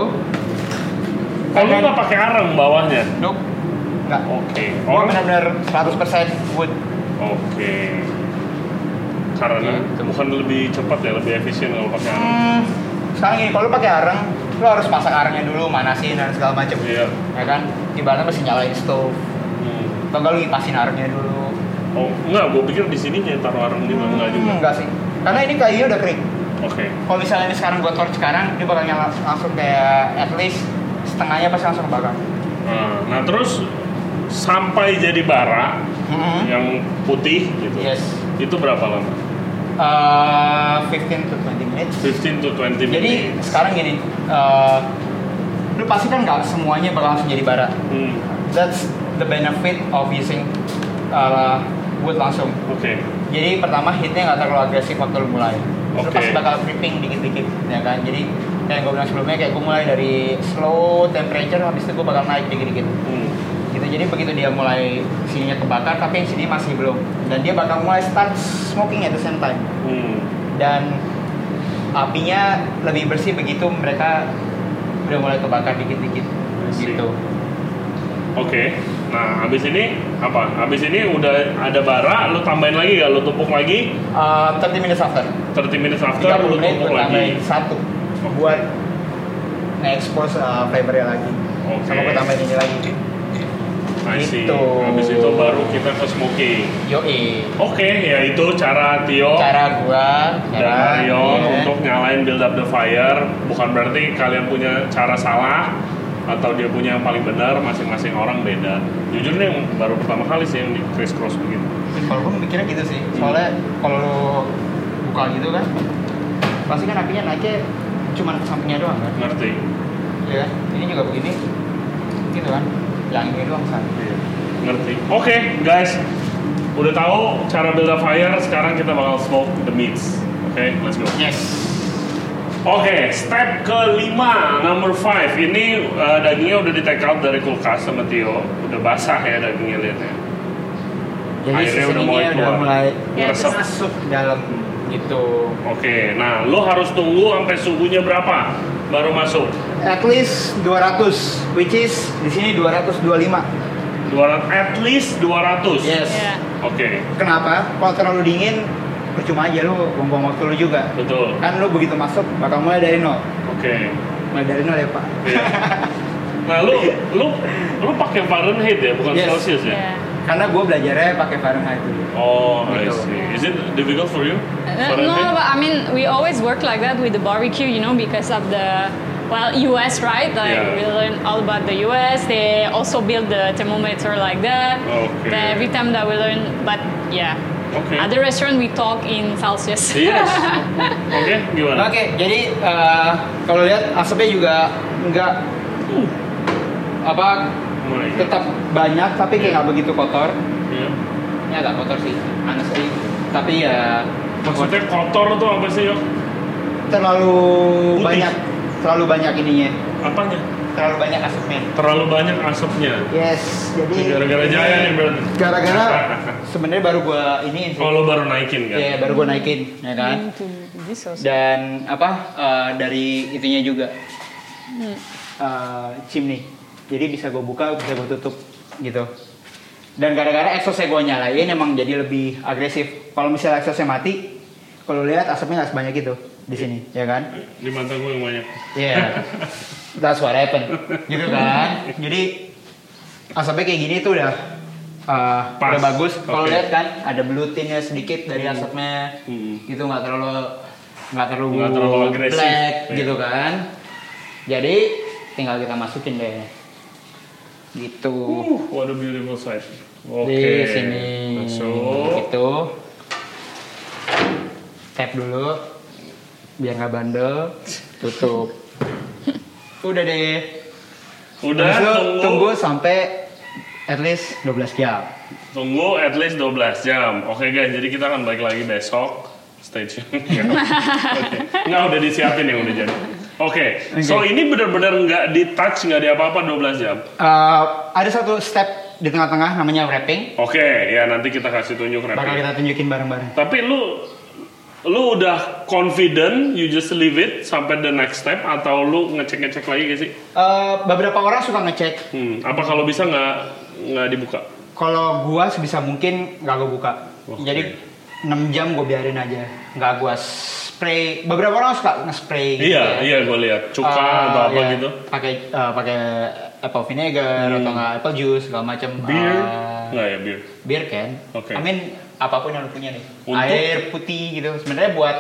C: Oh, lu nggak Oh. pakai arang bawahnya?
B: nope nggak
C: Oke.
B: gua
C: Orang-
B: benar-benar 100% wood
C: Oke. Karena
B: Gitu.
C: bukan lebih cepat ya, lebih efisien kalau pakai arang.
B: hmm, sekarang gini kalau lu pakai arang lu harus pasang arangnya dulu manasin dan segala macem
C: Iya.
B: ya kan ibaratnya mesti nyalain stove
C: Hmm.
B: atau nggak lu ngipasin arangnya dulu
C: Oh, enggak, gue pikir di sini taruh arang juga enggak juga.
B: enggak sih karena ini kayunya udah kering
C: Oke.
B: kalau misalnya ini sekarang gua torch sekarang dia bakal nyala langsung kayak at least setengahnya pasti langsung bakar
C: Nah, nah, terus sampai jadi bara
B: Mhm.
C: yang putih gitu.
B: yes
C: Itu berapa lama?
B: Eh, 15 to 20 minutes
C: 15 to 20 minutes.
B: Jadi sekarang gini, eh, lu pasti kan nggak semuanya bakal langsung jadi bara.
C: hmm.
B: That's the benefit of using eh, wood langsung.
C: oke.
B: Jadi pertama hitnya nggak terlalu agresif waktu lu mulai. Lu
C: Oke.
B: pasti bakal creeping dikit-dikit, ya kan? Jadi kayak gue bilang sebelumnya, kayak gue mulai dari slow temperature, habis itu gue bakal naik dikit-dikit.
C: Hmm.
B: Gitu. Jadi begitu dia mulai sininya kebakar, tapi yang sini masih belum. Dan dia bakal mulai start smoking at the same time
C: Hmm.
B: dan apinya lebih bersih begitu mereka udah mulai kebakar dikit-dikit
C: Bersih.
B: gitu.
C: Oke. Nah, habis ini apa? Habis ini udah ada bara, lu tambahin lagi ya, lu tumpuk lagi
B: Eh, 30 minutes after,
C: 30 minutes
B: 30
C: after lu
B: menit
C: tumpuk
B: gue tambahin
C: lagi.
B: satu buat nge-expose uh, flavornya lagi.
C: Oke.
B: Sama gue tambahin ini lagi.
C: I see.
B: Gitu.
C: Habis itu baru kita ke smoking.
B: Yoi,
C: Oke, ya itu cara Tio
B: cara gua,
C: dan
B: cara
C: Mario
B: iya.
C: Oh. untuk nyalain build up the fire bukan berarti kalian punya cara salah atau dia punya yang paling benar masing-masing orang beda jujur nih yang baru pertama kali sih yang di criss cross begitu
B: Kalau gue mikirnya gitu sih, soalnya kalau lu buka gitu kan, pasti kan apinya naiknya cuman ke sampingnya doang kan.
C: ngerti
B: ya kan? ini juga begini gitu kan yang ini doang kan
C: Iya, ngerti oke guys udah tahu cara build up fire sekarang kita bakal smoke the meats oke let's go
B: yes
C: Oke, step kelima, number five. Ini uh, dagingnya udah di take out dari kulkas sama Tio. Udah basah ya dagingnya liatnya.
B: jadi
C: Airnya udah
B: seasoningnya
C: mulai
B: udah
C: keluar.
B: mulai
A: Ya,
C: Ngeresep.
B: masuk dalam gitu
C: Oke, nah lo harus tunggu sampai suhunya berapa baru masuk.
B: at least 200 which is di sini 225
C: 200 at least 200.
B: yes
A: Yeah.
C: Oke,
B: Ya. kenapa kalau terlalu dingin percuma aja lu buang-buang waktu lu juga
C: betul.
B: kan lu begitu masuk bakal mulai dari nol
C: Oke.
B: mulai dari nol ya pak <laughs>
C: Iya. Nah, lu lu lu pakai Fahrenheit ya, bukan
B: Yes.
C: Celsius ya?
A: Yeah.
B: karena gue belajarnya pakai Fahrenheit dulu.
C: Oh, I
B: Gitu.
C: see. Is it difficult for you?
A: Uh, no, but I mean, we always work like that with the barbecue, you know, because of the well, US, right? Like
C: Yeah.
A: we learn all about the US. They also build the thermometer like that.
C: Okay.
A: Then every time that we learn, but yeah,
C: Oke.
A: at the restaurant we talk in Celsius.
C: Yes. Oke, gimana?
B: Hmm. Oke, jadi eh, kalau lihat asapnya juga nggak
C: Uh,
B: apa
C: mulai.
B: tetap banyak tapi kayak nggak begitu kotor.
C: Oh, Iya.
B: Ya agak kotor sih, honestly. Tapi ya
C: Maksudnya kotor tuh apa sih, Yok?
B: terlalu
C: Putih.
B: banyak, terlalu banyak ininya,
C: Apanya?
B: terlalu banyak asapnya.
C: Terlalu banyak asapnya.
B: Yes, jadi
C: Gara-gara jaya nih, berarti.
B: Gara-gara
C: <laughs>
B: sebenarnya baru gua ini sih.
C: Oh, lo baru naikin kan?
B: Iya, baru gua naikin, ya kan?
A: <laughs> Into this also.
B: dan apa eh, dari itunya juga Eh, chimney jadi bisa gue buka bisa gue tutup gitu dan gara-gara exhaustnya gue nyalain emang jadi lebih agresif kalau misalnya exhaustnya mati kalau lihat asapnya nggak sebanyak itu di sini ya kan
C: Di mantan gue yang banyak.
B: Iya <laughs> that's what happened gitu kan jadi asapnya kayak gini tuh udah eh,
C: Pas.
B: udah bagus kalau
C: Oke.
B: lihat kan ada blutinnya sedikit dari asapnya
C: Hmm.
B: gitu nggak terlalu nggak terlalu
C: Nggak terlalu agresif.
B: black
C: Iya.
B: gitu kan jadi tinggal kita masukin deh gitu
C: Uh, what a beautiful sight. Oke.
B: di sini
C: Masuk.
B: gitu tap dulu biar nggak bandel tutup <laughs> udah deh
C: Udah,
B: Habis itu
C: tunggu.
B: tunggu sampai at least 12 jam
C: Tunggu at least 12 jam. Oke guys, jadi kita akan balik lagi besok. Stay tune. <laughs> Oke. Nggak udah disiapin yang udah jadi. Oke, so
B: Oke.
C: ini benar-benar nggak di touch, nggak di apa-apa 12 jam.
B: Eh, ada satu step di tengah-tengah namanya wrapping
C: Oke, ya nanti kita kasih tunjuk
B: bakal
C: nanti.
B: kita tunjukin bareng-bareng
C: Tapi lu lu udah confident you just leave it sampai the next step atau lu ngecek-ngecek lagi gak sih?
B: Eh, beberapa orang suka ngecek
C: Hmm, apa kalau bisa nggak nggak dibuka?
B: Kalau gua sebisa mungkin nggak gua buka.
C: Oke.
B: Jadi 6 jam gua biarin aja. Nggak gua spray. Beberapa orang suka nge-spray gitu.
C: iya,
B: ya.
C: iya gue lihat cuka
B: Eh,
C: atau apa
B: iya.
C: gitu. Hmm.
B: Pakai eh, pakai apple vinegar atau nggak apple juice segala macam.
C: Beer?
B: Eh,
C: Nggak ya beer.
B: beer kan.
C: Oke.
B: I mean apapun yang lu punya nih.
C: Untuk?
B: Air putih gitu. Sebenarnya buat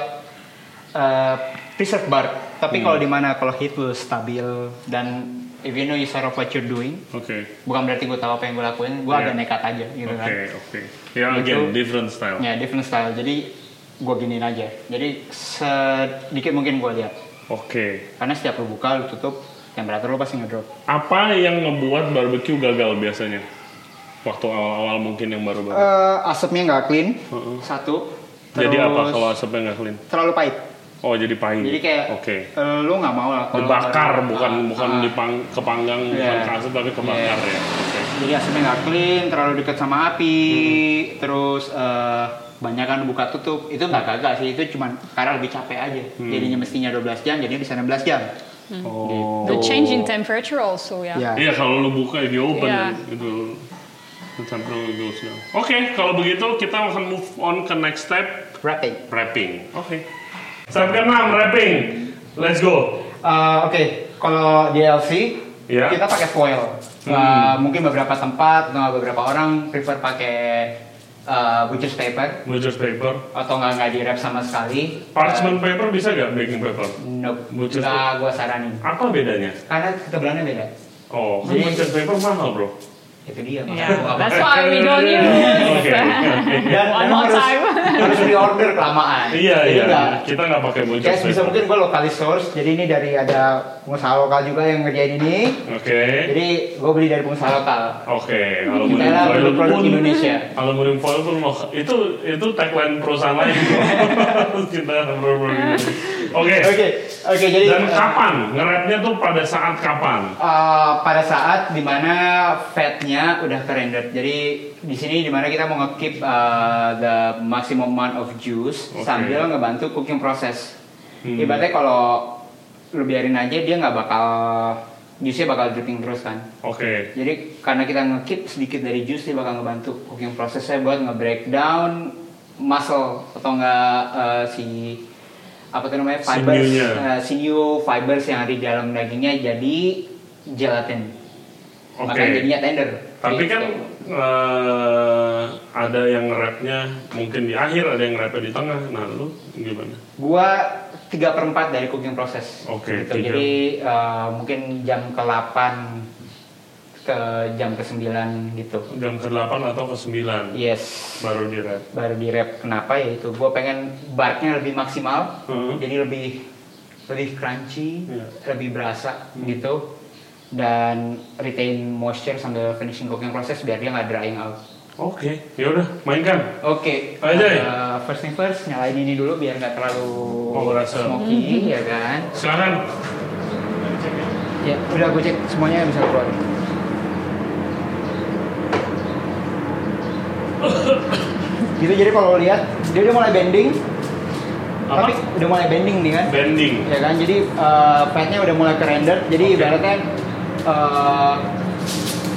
B: eh preserve bar. Tapi
C: Hmm.
B: kalau di mana kalau heat lu stabil dan if you know you sort of what you're doing,
C: Oke.
B: bukan berarti gue tahu apa yang gue lakuin, gue
C: Iya.
B: agak nekat aja gitu
C: Oke,
B: kan.
C: oke. Ya,
B: Gitu.
C: again, different style.
B: Ya, different style. Jadi gue giniin aja. Jadi sedikit mungkin gue lihat.
C: Oke.
B: Karena setiap lu buka, lu tutup, temperatur lu pasti ngedrop.
C: Apa yang ngebuat barbecue gagal biasanya? Waktu awal-awal mungkin yang baru-baru.
B: Eh, asapnya nggak clean.
C: Heeh.
B: Satu.
C: jadi
B: Terus
C: apa kalau asapnya nggak clean?
B: terlalu pahit?
C: Oh, jadi pahit.
B: Jadi kayak
C: Oke.
B: eh, lu nggak mau lah. kalau-
C: Dibakar, bukan
B: Ah,
C: bukan
B: ah.
C: dipang, kepanggang, bukan
B: Iya.
C: ke asap, tapi kebakar ya. Oke.
B: Jadi asapnya nggak clean, terlalu dekat sama api, terus eh banyak buka tutup. Itu
C: Mm.
B: nggak gagal sih, itu cuman karena lebih capek aja. Jadinya mestinya 12 jam, jadinya bisa 16 jam.
C: Oh.
A: The change in temperature also, yeah.
B: Ya.
C: Iya, kalau lu buka, if you open,
A: Iya.
C: itu the temperature goes down. Oke, kalau begitu kita akan move on ke next step.
B: Wrapping.
C: Wrapping. Oke. Step ke-6, wrapping. Let's go.
B: Eh, Oke, kalau DLC
C: Iya.
B: kita pakai foil. Eh,
C: Hmm.
B: mungkin beberapa tempat atau beberapa orang prefer pakai eh, butcher's paper
C: Butcher's paper.
B: atau nggak nggak di wrap sama sekali.
C: Parchment paper bisa nggak baking paper?
B: Nope,
C: Butcher's
B: nggak gua saranin.
C: Apa bedanya?
B: Karena ketebalannya beda.
C: Oh, kan
B: Jadi-
C: butcher's paper mahal bro.
B: Itu dia. makanya gua
A: Yeah,
B: nggak
A: Iya. that's why we
C: <laughs>
A: don't use.
C: Oke.
B: Dan,
A: One
B: dan
A: more
B: harus,
A: time.
B: <laughs> harus di order kelamaan.
C: Iya
B: Jadi
C: iya.
B: nggak-
C: Kita nggak pakai
B: Ya,
C: butcher's
B: bisa
C: paper.
B: mungkin gue lokalis source. Jadi ini dari ada pengusaha lokal juga yang ngerjain ini.
C: Oke.
B: Jadi gue beli dari pengusaha lokal.
C: Oke. Aluminium
B: Kita
C: foil
B: produk-produk
C: pun.
B: Indonesia.
C: Aluminium foil pun mau. Itu itu tagline perusahaan lain. bro. <laughs> Kita
B: <laughs>
C: produk-produk Indonesia. Oke.
B: Oke, oke jadi eh,
C: Dan kapan? Ngerapnya tuh pada saat kapan?
B: eh, pada saat dimana fatnya udah rendered Jadi di sini dimana kita mau ngekeep eh, the maximum amount of juice
C: Oke.
B: sambil ngebantu cooking proses. Ibaratnya kalau lu biarin aja dia nggak bakal juice-nya bakal dripping terus kan.
C: Oke.
B: Jadi karena kita ngekeep sedikit dari juice dia bakal ngebantu cooking prosesnya buat nge-breakdown muscle atau enggak eh, si apa tuh namanya fibers
C: Sinyunya.
B: eh, sinew fibers yang ada di dalam dagingnya jadi gelatin.
C: Oke.
B: Makanya jadinya tender. Gitu.
C: Tapi kan eh, ada yang rapnya mungkin di akhir, ada yang rapnya di tengah. Nah lu gimana?
B: Gua tiga per empat dari cooking proses.
C: Oke,
B: Gitu.
C: tiga.
B: Jadi eh, mungkin jam ke 8 ke jam ke 9 gitu.
C: Jam ke-8 atau ke-9
B: Iya. Yes.
C: baru di rap.
B: baru di rap kenapa ya itu gue pengen barknya lebih maksimal
C: Hmm.
B: jadi lebih lebih crunchy
C: Iya. Hmm.
B: lebih berasa gitu dan retain moisture sambil finishing cooking process biar dia nggak drying out
C: Oke, yaudah mainkan.
B: oke
C: Ayo, Jay.
B: uh, first thing first nyalain ini dulu biar nggak terlalu
C: Oh, berasa.
B: smoky ya kan
C: Silakan.
B: ya udah gue cek semuanya bisa keluar gitu jadi kalau lihat dia udah mulai bending
C: Apa?
B: tapi udah mulai bending nih kan
C: Bending.
B: ya kan jadi eh, fatnya udah mulai ke render jadi
C: Oke.
B: ibaratnya eh,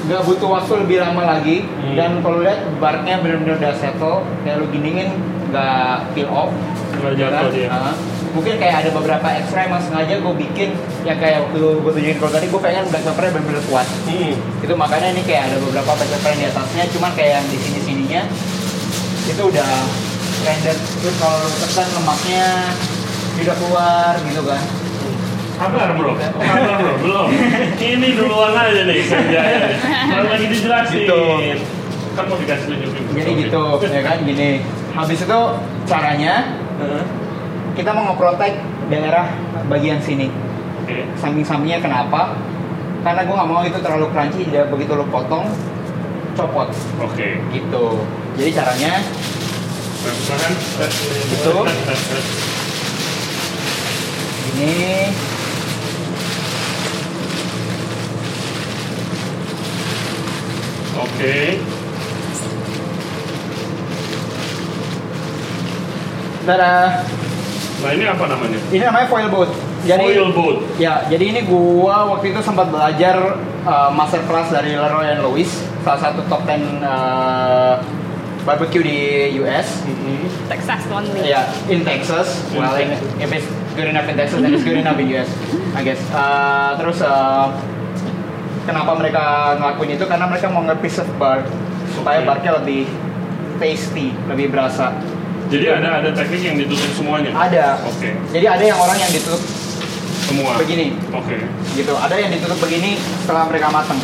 B: nggak butuh waktu lebih lama lagi
C: Hmm.
B: dan kalau lihat barnya benar-benar udah settle kayak lu diningin nggak peel off
C: Nggak
B: ya
C: jatuh dia.
B: Ah. mungkin kayak ada beberapa extra emang sengaja gue bikin ya kayak waktu gue tunjukin kalau tadi gue pengen black peppernya benar-benar kuat
C: Hmm.
B: itu makanya ini kayak ada beberapa black pepper yang di atasnya cuman kayak yang di sini sininya itu udah rendered terus kalau lu tekan lemaknya dia udah keluar gitu kan
C: Sabar bro, sabar bro, belum. Ini duluan aja nih kerjanya. Kalau lagi dijelasin.
B: Gitu.
C: Kan mau dikasih tunjukin.
B: Jadi gitu, ya kan gini. Habis itu caranya
C: Heeh.
B: kita mau ngeprotek daerah bagian sini.
C: Oke.
B: Samping-sampingnya kenapa? Karena gue nggak mau itu terlalu crunchy, dia begitu lo potong copot
C: Oke.
B: gitu. Jadi caranya
C: Nah, silakan.
B: Gitu. gini.
C: Oke.
B: Tada.
C: Nah, ini apa namanya?
B: Ini namanya foil boat. Jadi
C: Oil boat.
B: Ya, jadi ini gua waktu itu sempat belajar uh, master class dari Leroy and Lewis, salah satu top 10 uh, barbecue di US.
C: Mm-hmm.
A: Texas only.
B: Yeah, in Texas.
C: In
B: well, in,
C: Texas.
B: if it's good enough in Texas, then it's good enough in US, I guess. Uh, terus uh, kenapa mereka ngelakuin itu? Karena mereka mau nge-piece of bark supaya
C: Oke.
B: barknya lebih tasty, lebih berasa.
C: Jadi ada ada teknik yang ditutup semuanya.
B: Ada.
C: Oke.
B: Jadi ada yang orang yang ditutup
C: Semua.
B: begini,
C: Oke.
B: gitu. Ada yang ditutup begini setelah mereka mateng.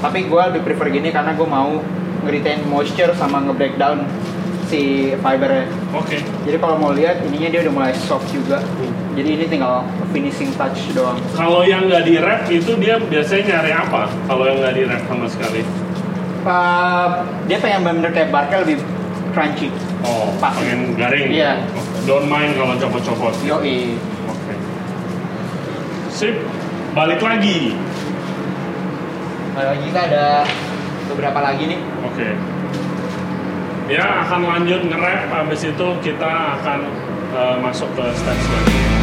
B: Tapi gue lebih prefer gini karena gue mau nge-retain moisture sama nge-breakdown si fibernya.
C: Oke.
B: Jadi kalau mau lihat ininya dia udah mulai soft juga. Jadi ini tinggal finishing touch doang.
C: Kalau yang nggak di wrap itu dia biasanya nyari apa? Kalau yang nggak di wrap sama sekali.
B: Eh, dia pengen bener kayak barknya lebih crunchy.
C: Oh,
B: Pas.
C: pengen garing. Oh,
B: Iya.
C: Don't mind kalau copot-copot.
B: Yoi.
C: Oke. Sip. Balik lagi.
B: Kalau kita ada beberapa lagi nih.
C: Oke. Dia akan lanjut nge-rap, habis itu kita akan eh, masuk ke step selanjutnya.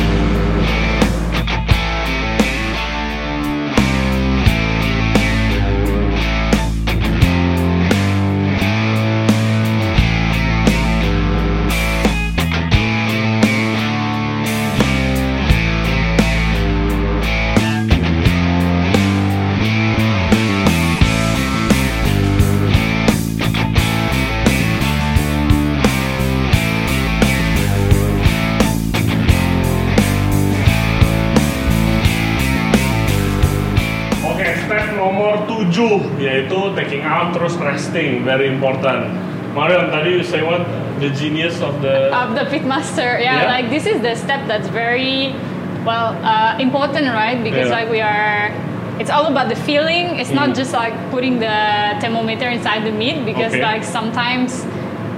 C: Oke, step nomor 7 yaitu taking out terus resting, very important. Mariam, tadi you say what the genius of the
A: Of the pit master, yeah,
C: Yeah.
A: Like this is the step that's very well uh, important, right? Because
C: Yeah.
A: like we are, it's all about the feeling. It's not
C: Mm.
A: just like putting the thermometer inside the meat because
C: Okay.
A: like sometimes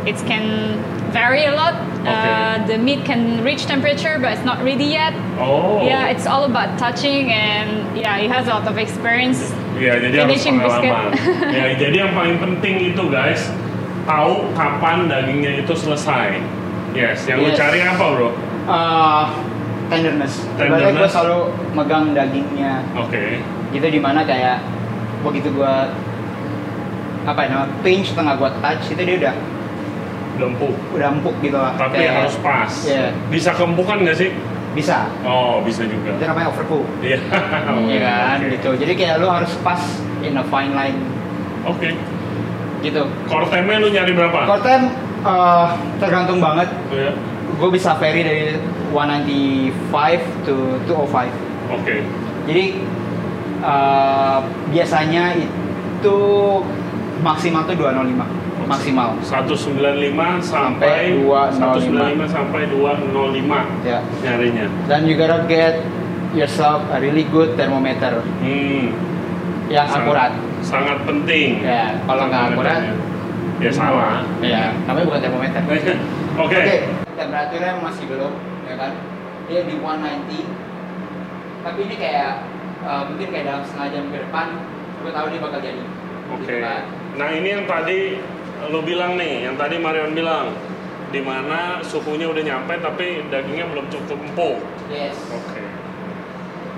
A: it can vary a lot. Uh, the meat can reach temperature, but it's not ready yet.
C: Oh.
A: Yeah, it's all about touching, and yeah, he has a lot of experience.
C: Iya, jadi harus
A: Finishing
C: pengalaman.
A: biscuit.
C: ya, jadi yang paling penting itu guys, tahu kapan dagingnya itu selesai. Yes, yang lu
B: Yes.
C: cari apa, Bro? Oke.
B: Eh, tenderness. Sebenarnya gue
C: Tenderness.
B: selalu megang dagingnya. Itu dimana kayak begitu gue apa ya namanya pinch tengah gue touch itu dia udah
C: Lempuk.
B: udah empuk gitu lah.
C: Tapi
B: Kayak-
C: harus pas.
B: Iya.
C: Bisa kempukan nggak sih?
B: Bisa.
C: Oh, bisa juga.
B: Itu namanya overcook.
C: Iya. <laughs>
B: Iya kan,
C: Oke.
B: gitu. Jadi kayak lu harus pas in a fine line
C: Oke.
B: gitu.
C: Core time-nya lu nyari berapa?
B: Core time eh, tergantung banget.
C: Gitu ya.
B: Gue bisa vary dari 195 to 205.
C: Oke.
B: Jadi eh, biasanya itu maksimal tuh 205 maksimal.
C: 195 sampai
B: Sampai 205.
C: 195 sampai 205
B: Ya.
C: nyarinya.
B: Dan you gotta get yourself a really good thermometer
C: Hmm.
B: yang
C: sangat-
B: akurat.
C: Sangat penting.
B: Ya, kalau nggak akurat,
C: ya salah.
B: Ya, namanya bukan thermometer. Oke,
C: <laughs> Oke.
B: temperaturnya masih belum, ya kan? Dia di 190, tapi ini kayak eh, mungkin kayak dalam setengah jam ke depan, gue tahu dia bakal jadi.
C: Oke.
B: Gitu kan.
C: Nah ini yang tadi lo bilang nih, yang tadi Marion bilang, di mana suhunya udah nyampe tapi dagingnya belum cukup empuk.
B: Yes.
C: Oke.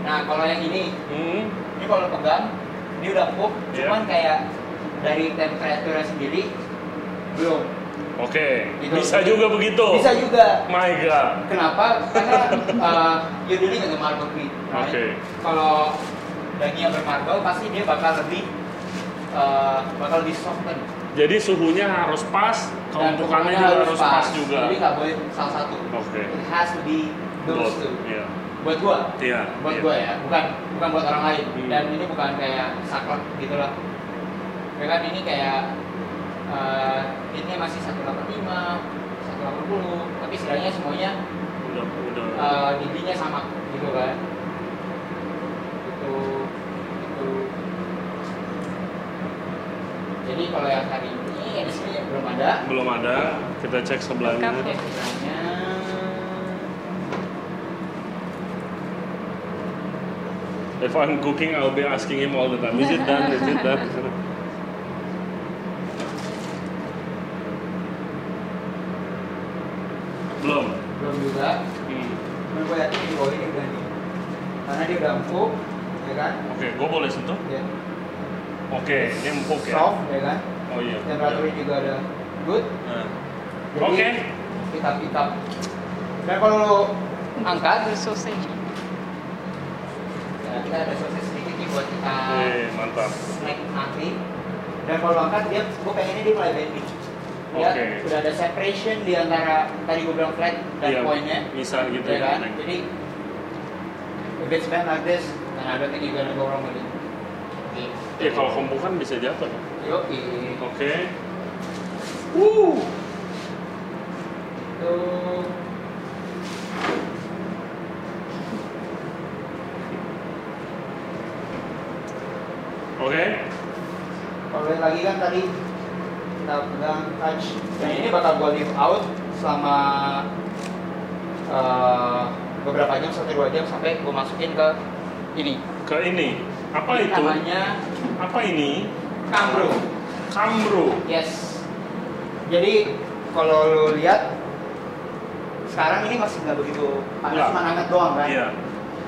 B: Nah, kalau yang ini,
C: Hmm.
B: ini kalau pegang, ini udah empuk,
C: Iya.
B: cuman kayak dari temperaturnya sendiri belum.
C: Oke.
B: Gitu.
C: Bisa juga begitu.
B: Bisa juga.
C: My God.
B: Kenapa? Karena uh, you dealing with the marble meat. right?
C: Oke.
B: Kalau daging yang bermarble pasti dia bakal lebih uh, bakal lebih soften.
C: Jadi suhunya harus pas,
B: Dan
C: keuntukannya
B: ukurannya
C: Oh, juga harus pas, juga.
B: Jadi nggak boleh salah satu.
C: Oke.
B: It has to be those
C: Both.
B: two.
C: Iya.
B: Buat gua,
C: Iya.
B: buat
C: iya.
B: gua ya, bukan bukan buat orang lain.
C: Hmm.
B: Dan ini bukan kayak saklek gitu lah. Ya kan ini kayak uh, ini masih 185, 180, tapi setidaknya semuanya
C: Udah, udah.
B: eh giginya sama gitu kan itu itu jadi kalau yang hari ini yang di sini belum ada
C: Belum ada. Kita cek sebelahnya.
A: Lengkap ya.
B: misalnya
C: If I'm cooking, I'll be asking him all the time. Is it done? Is it done? Belum.
B: belum juga
C: Hmm.
B: menurut gue yakin di bawah ini udah nih karena dia udah empuk ya kan
C: Oke, gue boleh sentuh.
B: ya.
C: Oke, ini empuk ya.
B: soft ya kan
C: Oh iya.
B: temperaturnya juga ada good
C: Nah.
B: jadi
C: Oke.
B: hitam hitam dan kalau lo angkat
A: The sausage.
B: ya, kita ada sosis sedikit nih buat kita
C: Oke, mantap.
B: snack nanti dan kalau angkat dia gue pengennya dia mulai bending ya
C: Oke.
B: udah ada separation di antara tadi gue bilang flat dan
C: Iya,
B: pointnya
C: Bisa gitu
B: ya kan
C: Neng.
B: jadi if it's bent like this then I don't think you're gonna go wrong with it
C: Ya kalau kompukan bisa jatuh. Oke.
B: Yuk,
C: Wuh.
B: itu
C: Oke.
B: kalau yang lagi kan tadi kita pegang touch dan ini bakal gue leave out selama eh, beberapa jam satu dua jam sampai gue masukin ke ini
C: Ke ini. Apa
B: Ini
C: itu?
B: namanya
C: Apa ini?
B: kambro
C: Kamro.
B: Yes. Jadi kalau lu lihat sekarang ini masih nggak begitu panas,
C: Nggak.
B: cuma hangat doang kan?
C: Iya.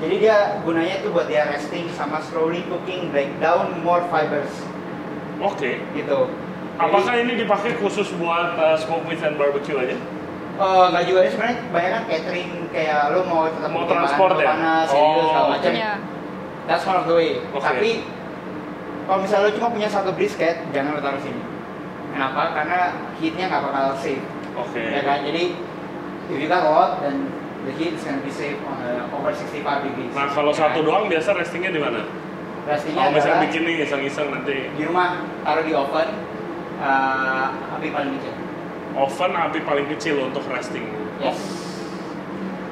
B: Jadi dia gunanya itu buat dia resting sama slowly cooking break down more fibers
C: Oke.
B: gitu. Jadi,
C: Apakah ini dipakai khusus buat uh, smoke meat and barbecue aja?
B: eh, nggak juga deh sebenarnya banyak kan catering kayak lu mau tetap
C: Mau
B: bikin bahan,
C: transport
B: lu
C: ya?
B: panas,
C: Oh,
B: ini, segala macam.
A: Yeah.
B: That's one of the way.
C: Oke.
B: Tapi kalau misalnya lu cuma punya satu brisket, jangan lu taruh sini. Kenapa? Karena heatnya nggak bakal safe.
C: Oke.
B: ya kan jadi if you got a lot then the heat is gonna be safe on uh, over 65 degrees
C: Nah kalau
B: Ya
C: satu
B: kan?
C: doang biasa restingnya di mana?
B: restingnya
C: Kalau misalnya
B: adalah
C: bikin nih iseng-iseng nanti
B: di rumah taruh di oven uh, api paling kecil
C: oven api paling kecil untuk resting.
B: yes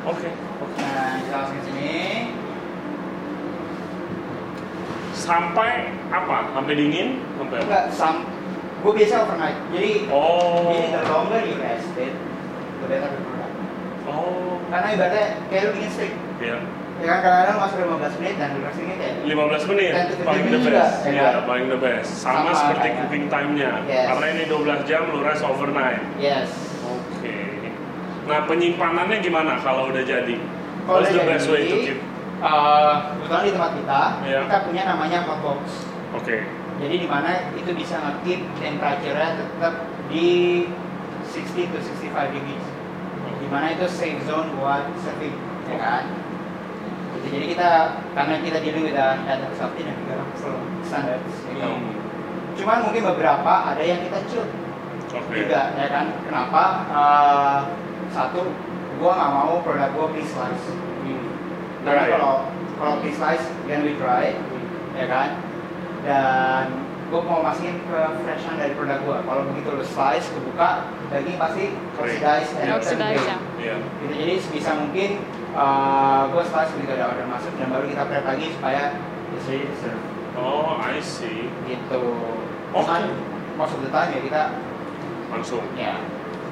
C: Oke.
B: nah kita langsung ke sini
C: Sampai apa? Sampai dingin? Sampai apa?
B: enggak sam gue biasa overnight jadi
C: Oh.
B: jadi the longer you rest it the better the product
C: Oh.
B: karena ibaratnya kayak lu bikin steak
C: Ya.
B: ya kan kadang-kadang lu masuk 15 menit dan lu restingnya kayak
C: 15 menit
B: Dan tutup
C: paling the
B: juga,
C: best.
B: ya
C: Iya,
B: kan?
C: paling the best. Sama,
B: Sama, ya
C: seperti
B: kan?
C: cooking time-nya.
B: Yes.
C: Karena ini 12 jam lu rest overnight.
B: yes
C: Oke. Nah, penyimpanannya gimana kalau udah jadi?
B: Kalau
C: What's
B: udah
C: the best
B: jadi,
C: way to keep?
B: uh, kebetulan di tempat kita
C: Iya.
B: kita punya namanya hot box
C: Oke.
B: Jadi di mana itu bisa nge-keep temperature-nya tetap di 60 to 65 degrees. Di mana itu safe zone buat surfing, ya kan? Gitu, Jadi kita karena kita dealing with the data safety dan juga slow standards, you know.
C: Hmm.
B: Cuman mungkin beberapa ada yang kita cut
C: Oke.
B: juga, ya kan? Kenapa? Eh, satu, gua nggak mau produk gua pre-slice.
C: Hmm.
B: Karena
C: Dry.
B: kalau kalau pre-slice, can we dry,
C: Hmm.
B: ya kan? Dan gua mau masukin ke freshan dari produk gua. Kalau begitu lu slice, kebuka, daging pasti oxidized kan? and
A: Oxidize,
B: and-
A: ya.
C: Iya.
B: gitu. Jadi sebisa mungkin uh, gue slice begitu ada order masuk dan baru kita prep lagi supaya it's ready to serve
C: Oh, I see.
B: gitu.
C: Oke.
B: Cuman, Most of the time ya kita
C: Langsung.
B: ya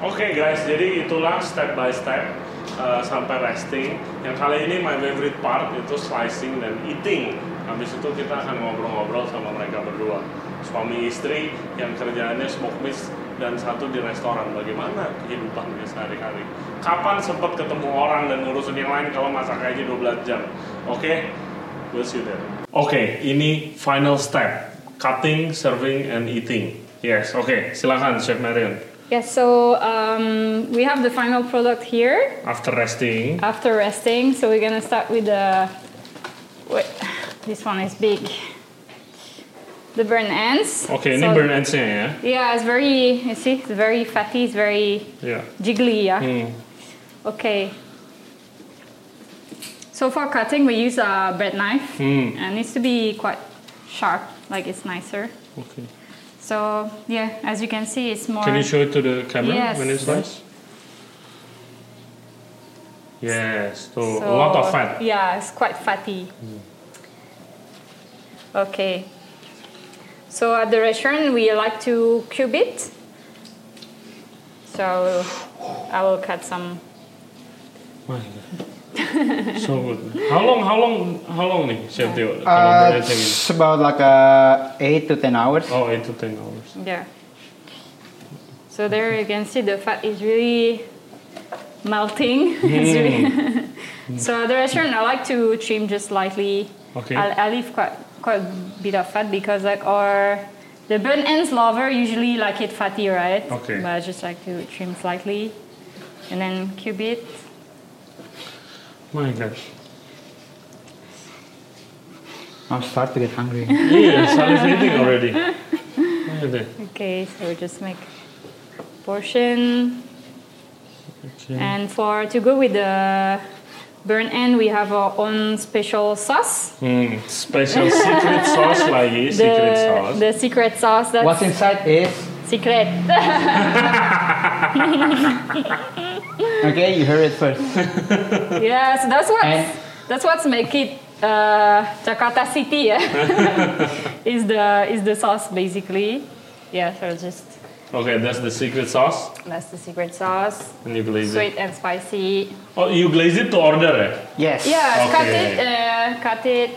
C: Oke guys, jadi itulah step by step uh, sampai resting. Yang kali ini my favorite part itu slicing dan eating. Habis itu kita akan ngobrol-ngobrol sama mereka berdua, suami istri yang kerjaannya smoke meat dan satu di restoran. Bagaimana kehidupannya sehari-hari? Kapan sempat ketemu orang dan ngurusin yang lain kalau masak aja 12 jam? Oke, we'll see you there. Oke, ini final step. Cutting, serving, and eating. Yes, oke. Silakan Chef Marion.
A: Yeah, so um, we have the final product here
C: after resting.
A: after resting. So we're gonna start with the. Wait, this one is big. The burn ends.
C: Oke, ini
A: So-
C: burn ends-nya ya.
A: Yeah, it's very. You see, it's very fatty. It's very
C: Iya.
A: jiggly. Yeah.
C: Hmm.
A: Okay. So for cutting, we use a bread knife,
C: Hmm.
A: and it needs to be quite sharp. Like it's nicer.
C: Oke.
A: So yeah, as you can see, it's more.
C: Can you show it to the camera
A: Yes.
C: when it's slice? Yes, tuh
A: So,
C: a lot of
A: <laughs>
C: fat.
A: Yeah, it's quite fatty. Okay. So at the restaurant, we like to cube it. So I will, I will cut some.
C: My God. so good. How long, how long, how long nih Chef Tio? kalau
B: uh,
C: burn ends-nya gini?
B: it's about like a 8 to 10 hours
C: Oh, 8 to 10 hours.
A: Yeah. So there you can see the fat is really melting. <laughs> It's
C: Mm.
A: really- so at the restaurant, I like to trim just lightly.
C: Okay.
A: I, I leave quite quite a bit of fat because like our the burnt ends lover usually like it fatty, right?
C: Okay.
A: But I just like to trim slightly, and then cube it.
C: My God.
B: I'm start to get hungry
C: Iya, salivating already. My God.
A: Okay. So we just make portion.
C: Okay.
A: And for to go with the burn end, we have our own special sauce.
C: Hmm, special secret sauce lagi, secret
A: The,
C: sauce.
A: the secret sauce that's
B: <laughs> what's inside is
C: <laughs>
A: secret.
B: okay you heard it first
A: yeah, so that's what
B: And-
A: that's what's make it uh, Jakarta City. <laughs> Yeah, is the is the sauce basically. Yeah, so just
C: Okay, that's the secret sauce.
A: that's the secret sauce.
C: And you glaze it.
A: Sweet and spicy.
C: Oh, you glaze it to order ya?
B: yes
A: Yeah, cut
C: Okay.
A: it, uh, cut it,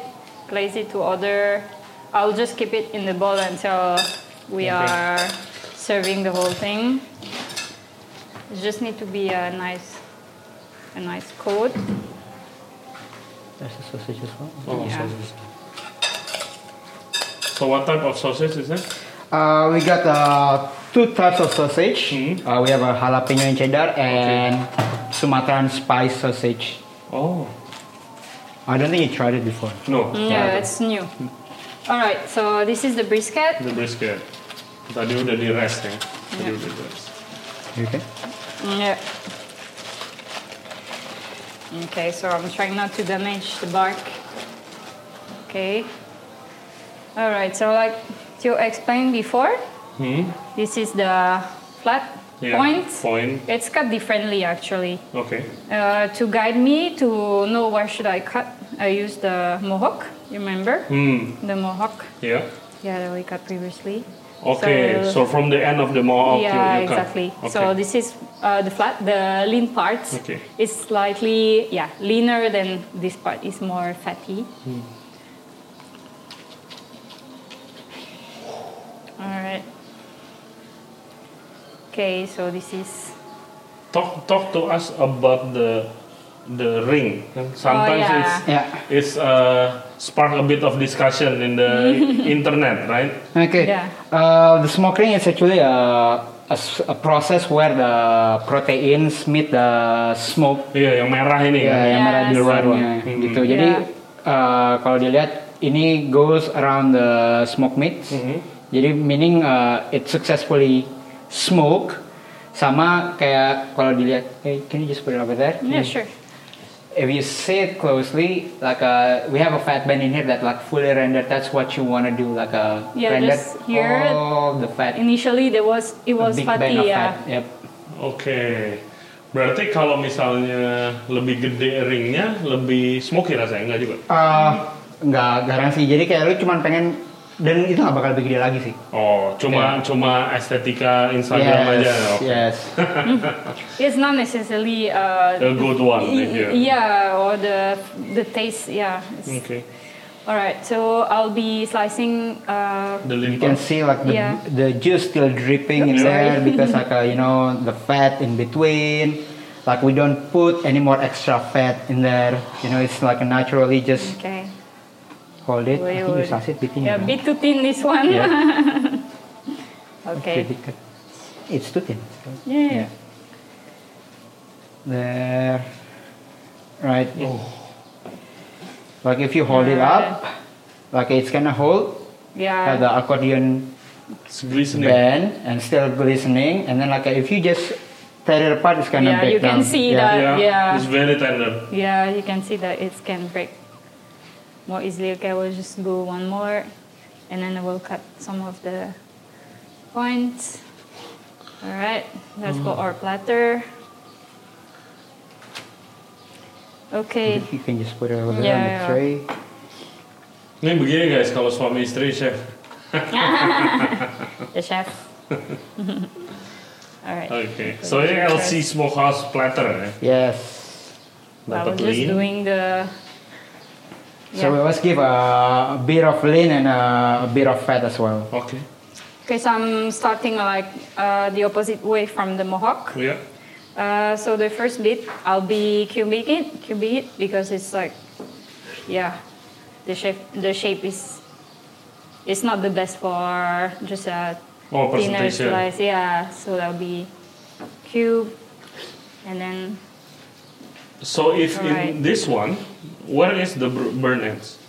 A: glaze it to order. I'll just keep it in the bowl until we are serving the whole thing. It just need to be a nice, a nice coat.
B: that's the sausage as well
C: Oh,
A: Yeah.
C: sausage. So what type of sausage is it?
B: Uh, we got uh, two types of sausage. Uh, we have a jalapeno and cheddar and Sumatran spice sausage.
C: Oh,
B: I don't think you tried it before.
C: no, Nah,
A: Yeah, it's new. All right, so this is the brisket.
C: the brisket. Tadi udah di rest ya. Tadi
A: Yeah.
C: udah di rest.
B: Okay.
A: Yeah. Okay, so I'm trying not to damage the bark. Okay. All right, so like you explained before,
C: Hmm?
A: this is the flat
C: Yeah.
A: point.
C: Point.
A: It's cut differently actually.
C: Okay.
A: Uh, to guide me to know where should I cut, I use the mohawk. You remember
C: Hmm.
A: the mohawk?
C: Yeah.
A: Yeah, that we cut previously.
C: Okay.
A: So-
C: So, from the end of the mohawk you,
A: yeah,
C: you cut.
A: exactly.
C: Oh, Okay.
A: So this is uh, the flat, the lean part
C: Okay.
A: is slightly yeah leaner than this part is more fatty.
C: Hmm.
A: All right. Okay, so this is
C: talk talk to us about the the ring. Sometimes
A: Oh, yeah.
C: it's
B: Yeah.
C: it's uh, spark a bit of discussion in
A: <laughs>
C: the internet, right?
B: Okay.
A: Yeah.
B: Uh, the smoking is actually a, a s- a process where the proteins meet the smoke
C: Iya, yang merah ini
B: ya,
C: kan.
B: yang merah di
A: Yes.
B: luarnya
C: Hmm.
B: gitu. Jadi
A: Yeah.
B: uh, kalau dilihat ini goes around the smoke meat Jadi meaning uh, it successfully smoke sama kayak kalau dilihat, hey, can you just put it over there?
C: Hmm.
A: Yeah, sure.
B: If you see it closely, like uh, we have a fat band in here that like fully rendered. That's what you want to do, like a
A: Yeah,
B: rendered
A: just here,
B: all the fat,
A: Initially, there was it
B: a
A: was
B: big
A: fatty,
B: band of
A: yeah.
B: fat. Yep.
C: Oke. Berarti kalau misalnya lebih gede ringnya, lebih smoky rasanya enggak juga?
B: Eh, nggak garang sih. Jadi kayak lu cuman pengen dan itu nggak bakal lebih gede lagi sih.
C: Oh, cuma cuma estetika Instagram aja. ya? Oke.
B: yes.
A: It's not necessarily uh,
C: The good one, yeah.
A: yeah, or the the taste, yeah. It's-
C: Oke.
A: All right, so I'll be slicing. Uh,
C: The
B: You can
C: limpa.
B: see like the,
A: Yeah.
B: the juice still dripping in
A: <laughs>
B: there because like uh, you know the fat in between. Like we don't put any more extra fat in there. You know it's like naturally just
A: okay.
B: hold it.
A: We
B: I think you
A: would-
B: slice it between.
A: Yeah, a bit too thin this one. <laughs> okay.
B: It's too thin.
A: Yeah.
B: There. Right. Like if you hold it up, like it's gonna hold
A: Yeah.
B: have the accordion
C: It's glistening.
B: band and still glistening, and then like if you just tear it apart, it's gonna
A: Yeah,
B: break
A: you can
B: down.
A: see
B: yeah.
C: Uh,
A: that. Yeah.
C: Ya, It's very tender.
A: Yeah, you can see that it can break more easily. Okay, we'll just go one more, and then we'll cut some of the points. All right, let's go
B: Mm.
A: our platter. Okay.
B: You can just put it over there
A: Yeah, yeah.
B: on the tray.
C: Ini begini guys, kalau suami istri chef.
A: the
B: <laughs>
A: chef. <laughs> All right.
C: Oke. So ini LC Smokehouse platter ya.
B: Yes.
A: I
C: Dapat
A: was just
C: lean.
A: doing the.
B: So we
A: Yeah.
B: must give a, a bit of lean and a, a bit of fat as well.
C: Oke.
A: Okay, so I'm starting like uh, the opposite way from the mohawk.
C: Iya.
A: Uh, so the first bit, I'll be cubic it, cubic it because it's like, yeah, the shape, the shape is, it's not the best for just a
C: Oh,
A: thinner
C: presentation.
A: slice. Yeah, so that'll be cube, and then
C: So if in
A: Alright.
C: this one, where is the br- burn ends?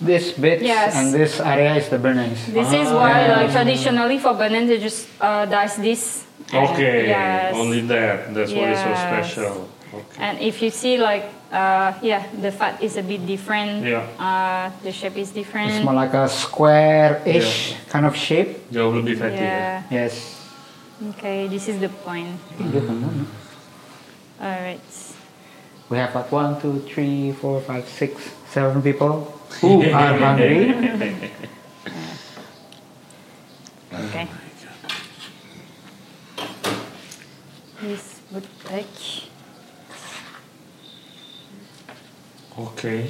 B: This bit
A: Yes.
B: and this area is the burnings.
A: this is
C: Ah.
A: why like traditionally for bananas they just uh, dice this. and-
C: Okay,
A: yes.
C: only that. That's why it's so
A: Yes.
C: special. Okay.
A: And if you see like, uh, yeah, the fat is a bit different.
C: Yeah.
A: Uh, the shape is different.
B: It's more like a square-ish kind of shape.
C: Jauh lebih fatty ya.
A: Yeah.
B: Yes.
A: Okay, this is the point. All right.
B: We have like one, two, three, four, five, six, seven people who are hungry.
C: <laughs>
A: Okay. This would like.
C: Oke.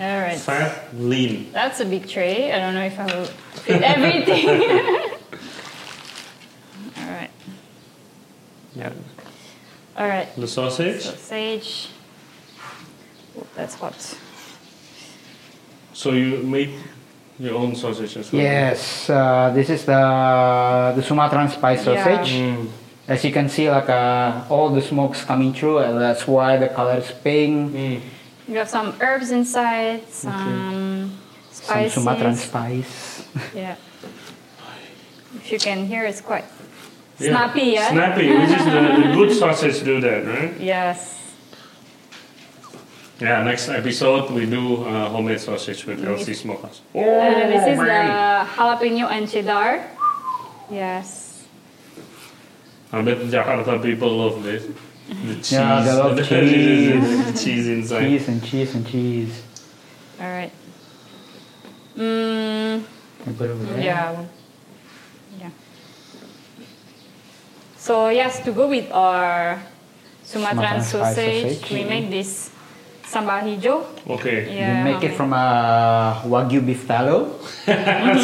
A: All right.
C: Fat lean.
A: That's a big tray. I don't know if I will fit everything. <laughs> All right.
C: Yeah.
A: All right.
C: The sausage.
A: Sausage. Oh, that's hot.
C: So you made your own sausage as well.
B: yes, uh, this is the the Sumatran spice
A: Yeah.
B: sausage.
C: Hmm.
B: As you can see, like uh, all the smoke's coming through, and that's why the color is pink.
C: Hmm.
A: You have some herbs inside, some
B: Some
A: spices.
B: Sumatran spice.
A: Yeah. If you can hear, it's quite
C: Yeah.
A: snappy, yeah?
C: Snappy, which is the, the good sausage do that, right?
A: Yes.
C: Yeah, next episode we do uh, homemade sausage with LC Smokehouse. Oh,
A: Uh, this is
C: man.
A: the jalapeno and cheddar. Yes.
C: I bet Jakarta people love this. <laughs> The cheese.
B: Yeah, they love
C: the cheese inside.
B: Cheese and cheese and cheese.
A: All right. Mm,
B: Can put it over there.
A: yeah. Yeah. So yes, to go with our Sumatran
B: Sumatran spice
A: sausage,
B: sausage.
A: we make this sambal hijau.
C: Okay. <laughs>
A: Yeah.
B: We make it from a wagyu beef tallow.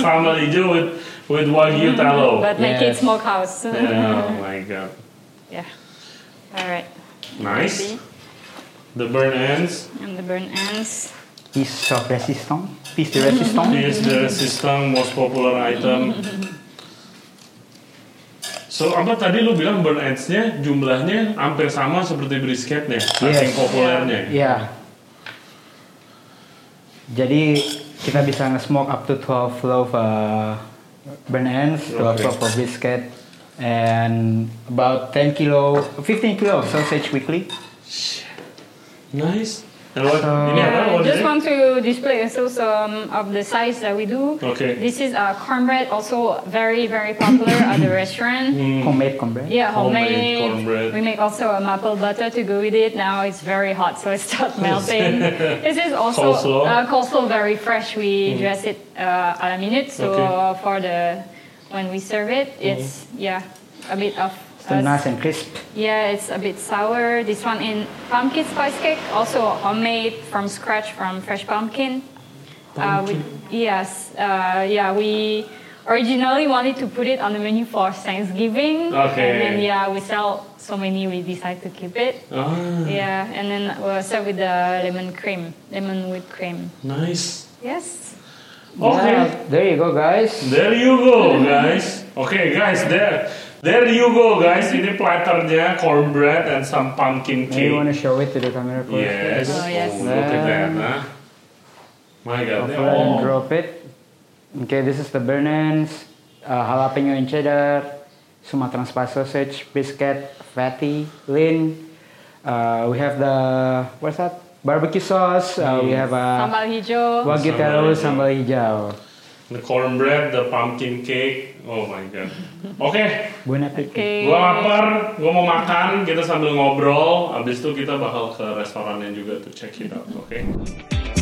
C: Sambal hijau with, with wagyu tallow.
A: But make it
B: Yes.
A: smokehouse.
C: Yeah, oh my god.
A: yeah. All right.
C: Nice. The burn ends.
A: And the burn ends.
B: Piece of resistance. Piece de resistance.
C: Here's
A: Mm-hmm.
C: the system most popular item. So apa tadi lu bilang burn ends-nya jumlahnya hampir sama seperti brisketnya, saking
B: Yes.
C: populernya.
B: Yeah. Jadi kita bisa nge-smoke up to 12 loaf uh, burn ends, also for brisket, and about 10 kilo, 15 kilo of sausage weekly.
C: Nice. Nah, lo- ini apa
A: I just
C: ordernya?
A: want to display also some of the sides that we do.
C: Okay.
A: This is uh, cornbread, also very, very popular at
C: <coughs>
A: the restaurant.
B: Homemade cornbread.
A: Yeah,
C: Mm-hmm. Homemade
A: homemade.
C: cornbread.
A: We make also a maple butter to go with it. Now it's very hot, so it's <laughs> not
C: <laughs>
A: melting. this is also
C: Coleslaw. Mm-hmm.
A: Uh, coleslaw very fresh. We dress it uh, a la minute, so
C: Okay.
A: uh,
C: Mm-hmm.
A: for the when we serve it, it's yeah a bit of. uh,
B: So nice and crisp.
A: yeah, it's a bit sour. This one in pumpkin spice cake, also homemade from scratch from fresh pumpkin. Uh, we, yes, uh, yeah, we originally wanted to put it on the menu for Thanksgiving. And
C: Okay.
A: then, yeah, we sell so many, we decide to keep it.
C: Ah,
A: Yeah, and then we'll serve with the lemon cream, lemon whipped cream.
C: nice.
A: Yes.
C: Oke.
B: Yeah, there you go, guys.
C: There you go, guys. Oke, guys, there. There you go, guys. Ini platternya cornbread and some pumpkin
B: Do you want to
C: cake.
B: show it to the camera first?
C: Yes.
A: Oh, yes.
C: look at that, huh? My God.
B: Shuffle and
C: Oh.
B: drop it. Okay, this is the burn ends, uh, jalapeno and cheddar, Sumatran spice sausage, biscuit, fatty, lean. Uh, we have the what's that? Barbecue sauce. Uh, we have a
A: Sambal hijau.
B: wagyu
C: Sambal
B: taro
C: hijau.
B: sambal hijau.
C: The cornbread, the pumpkin cake. Oh my God. Oke,
B: Bon appetit.
A: Okay.
C: gua lapar, gua mau makan, kita sambil ngobrol. Abis itu kita bakal ke restorannya juga tuh check it out, oke?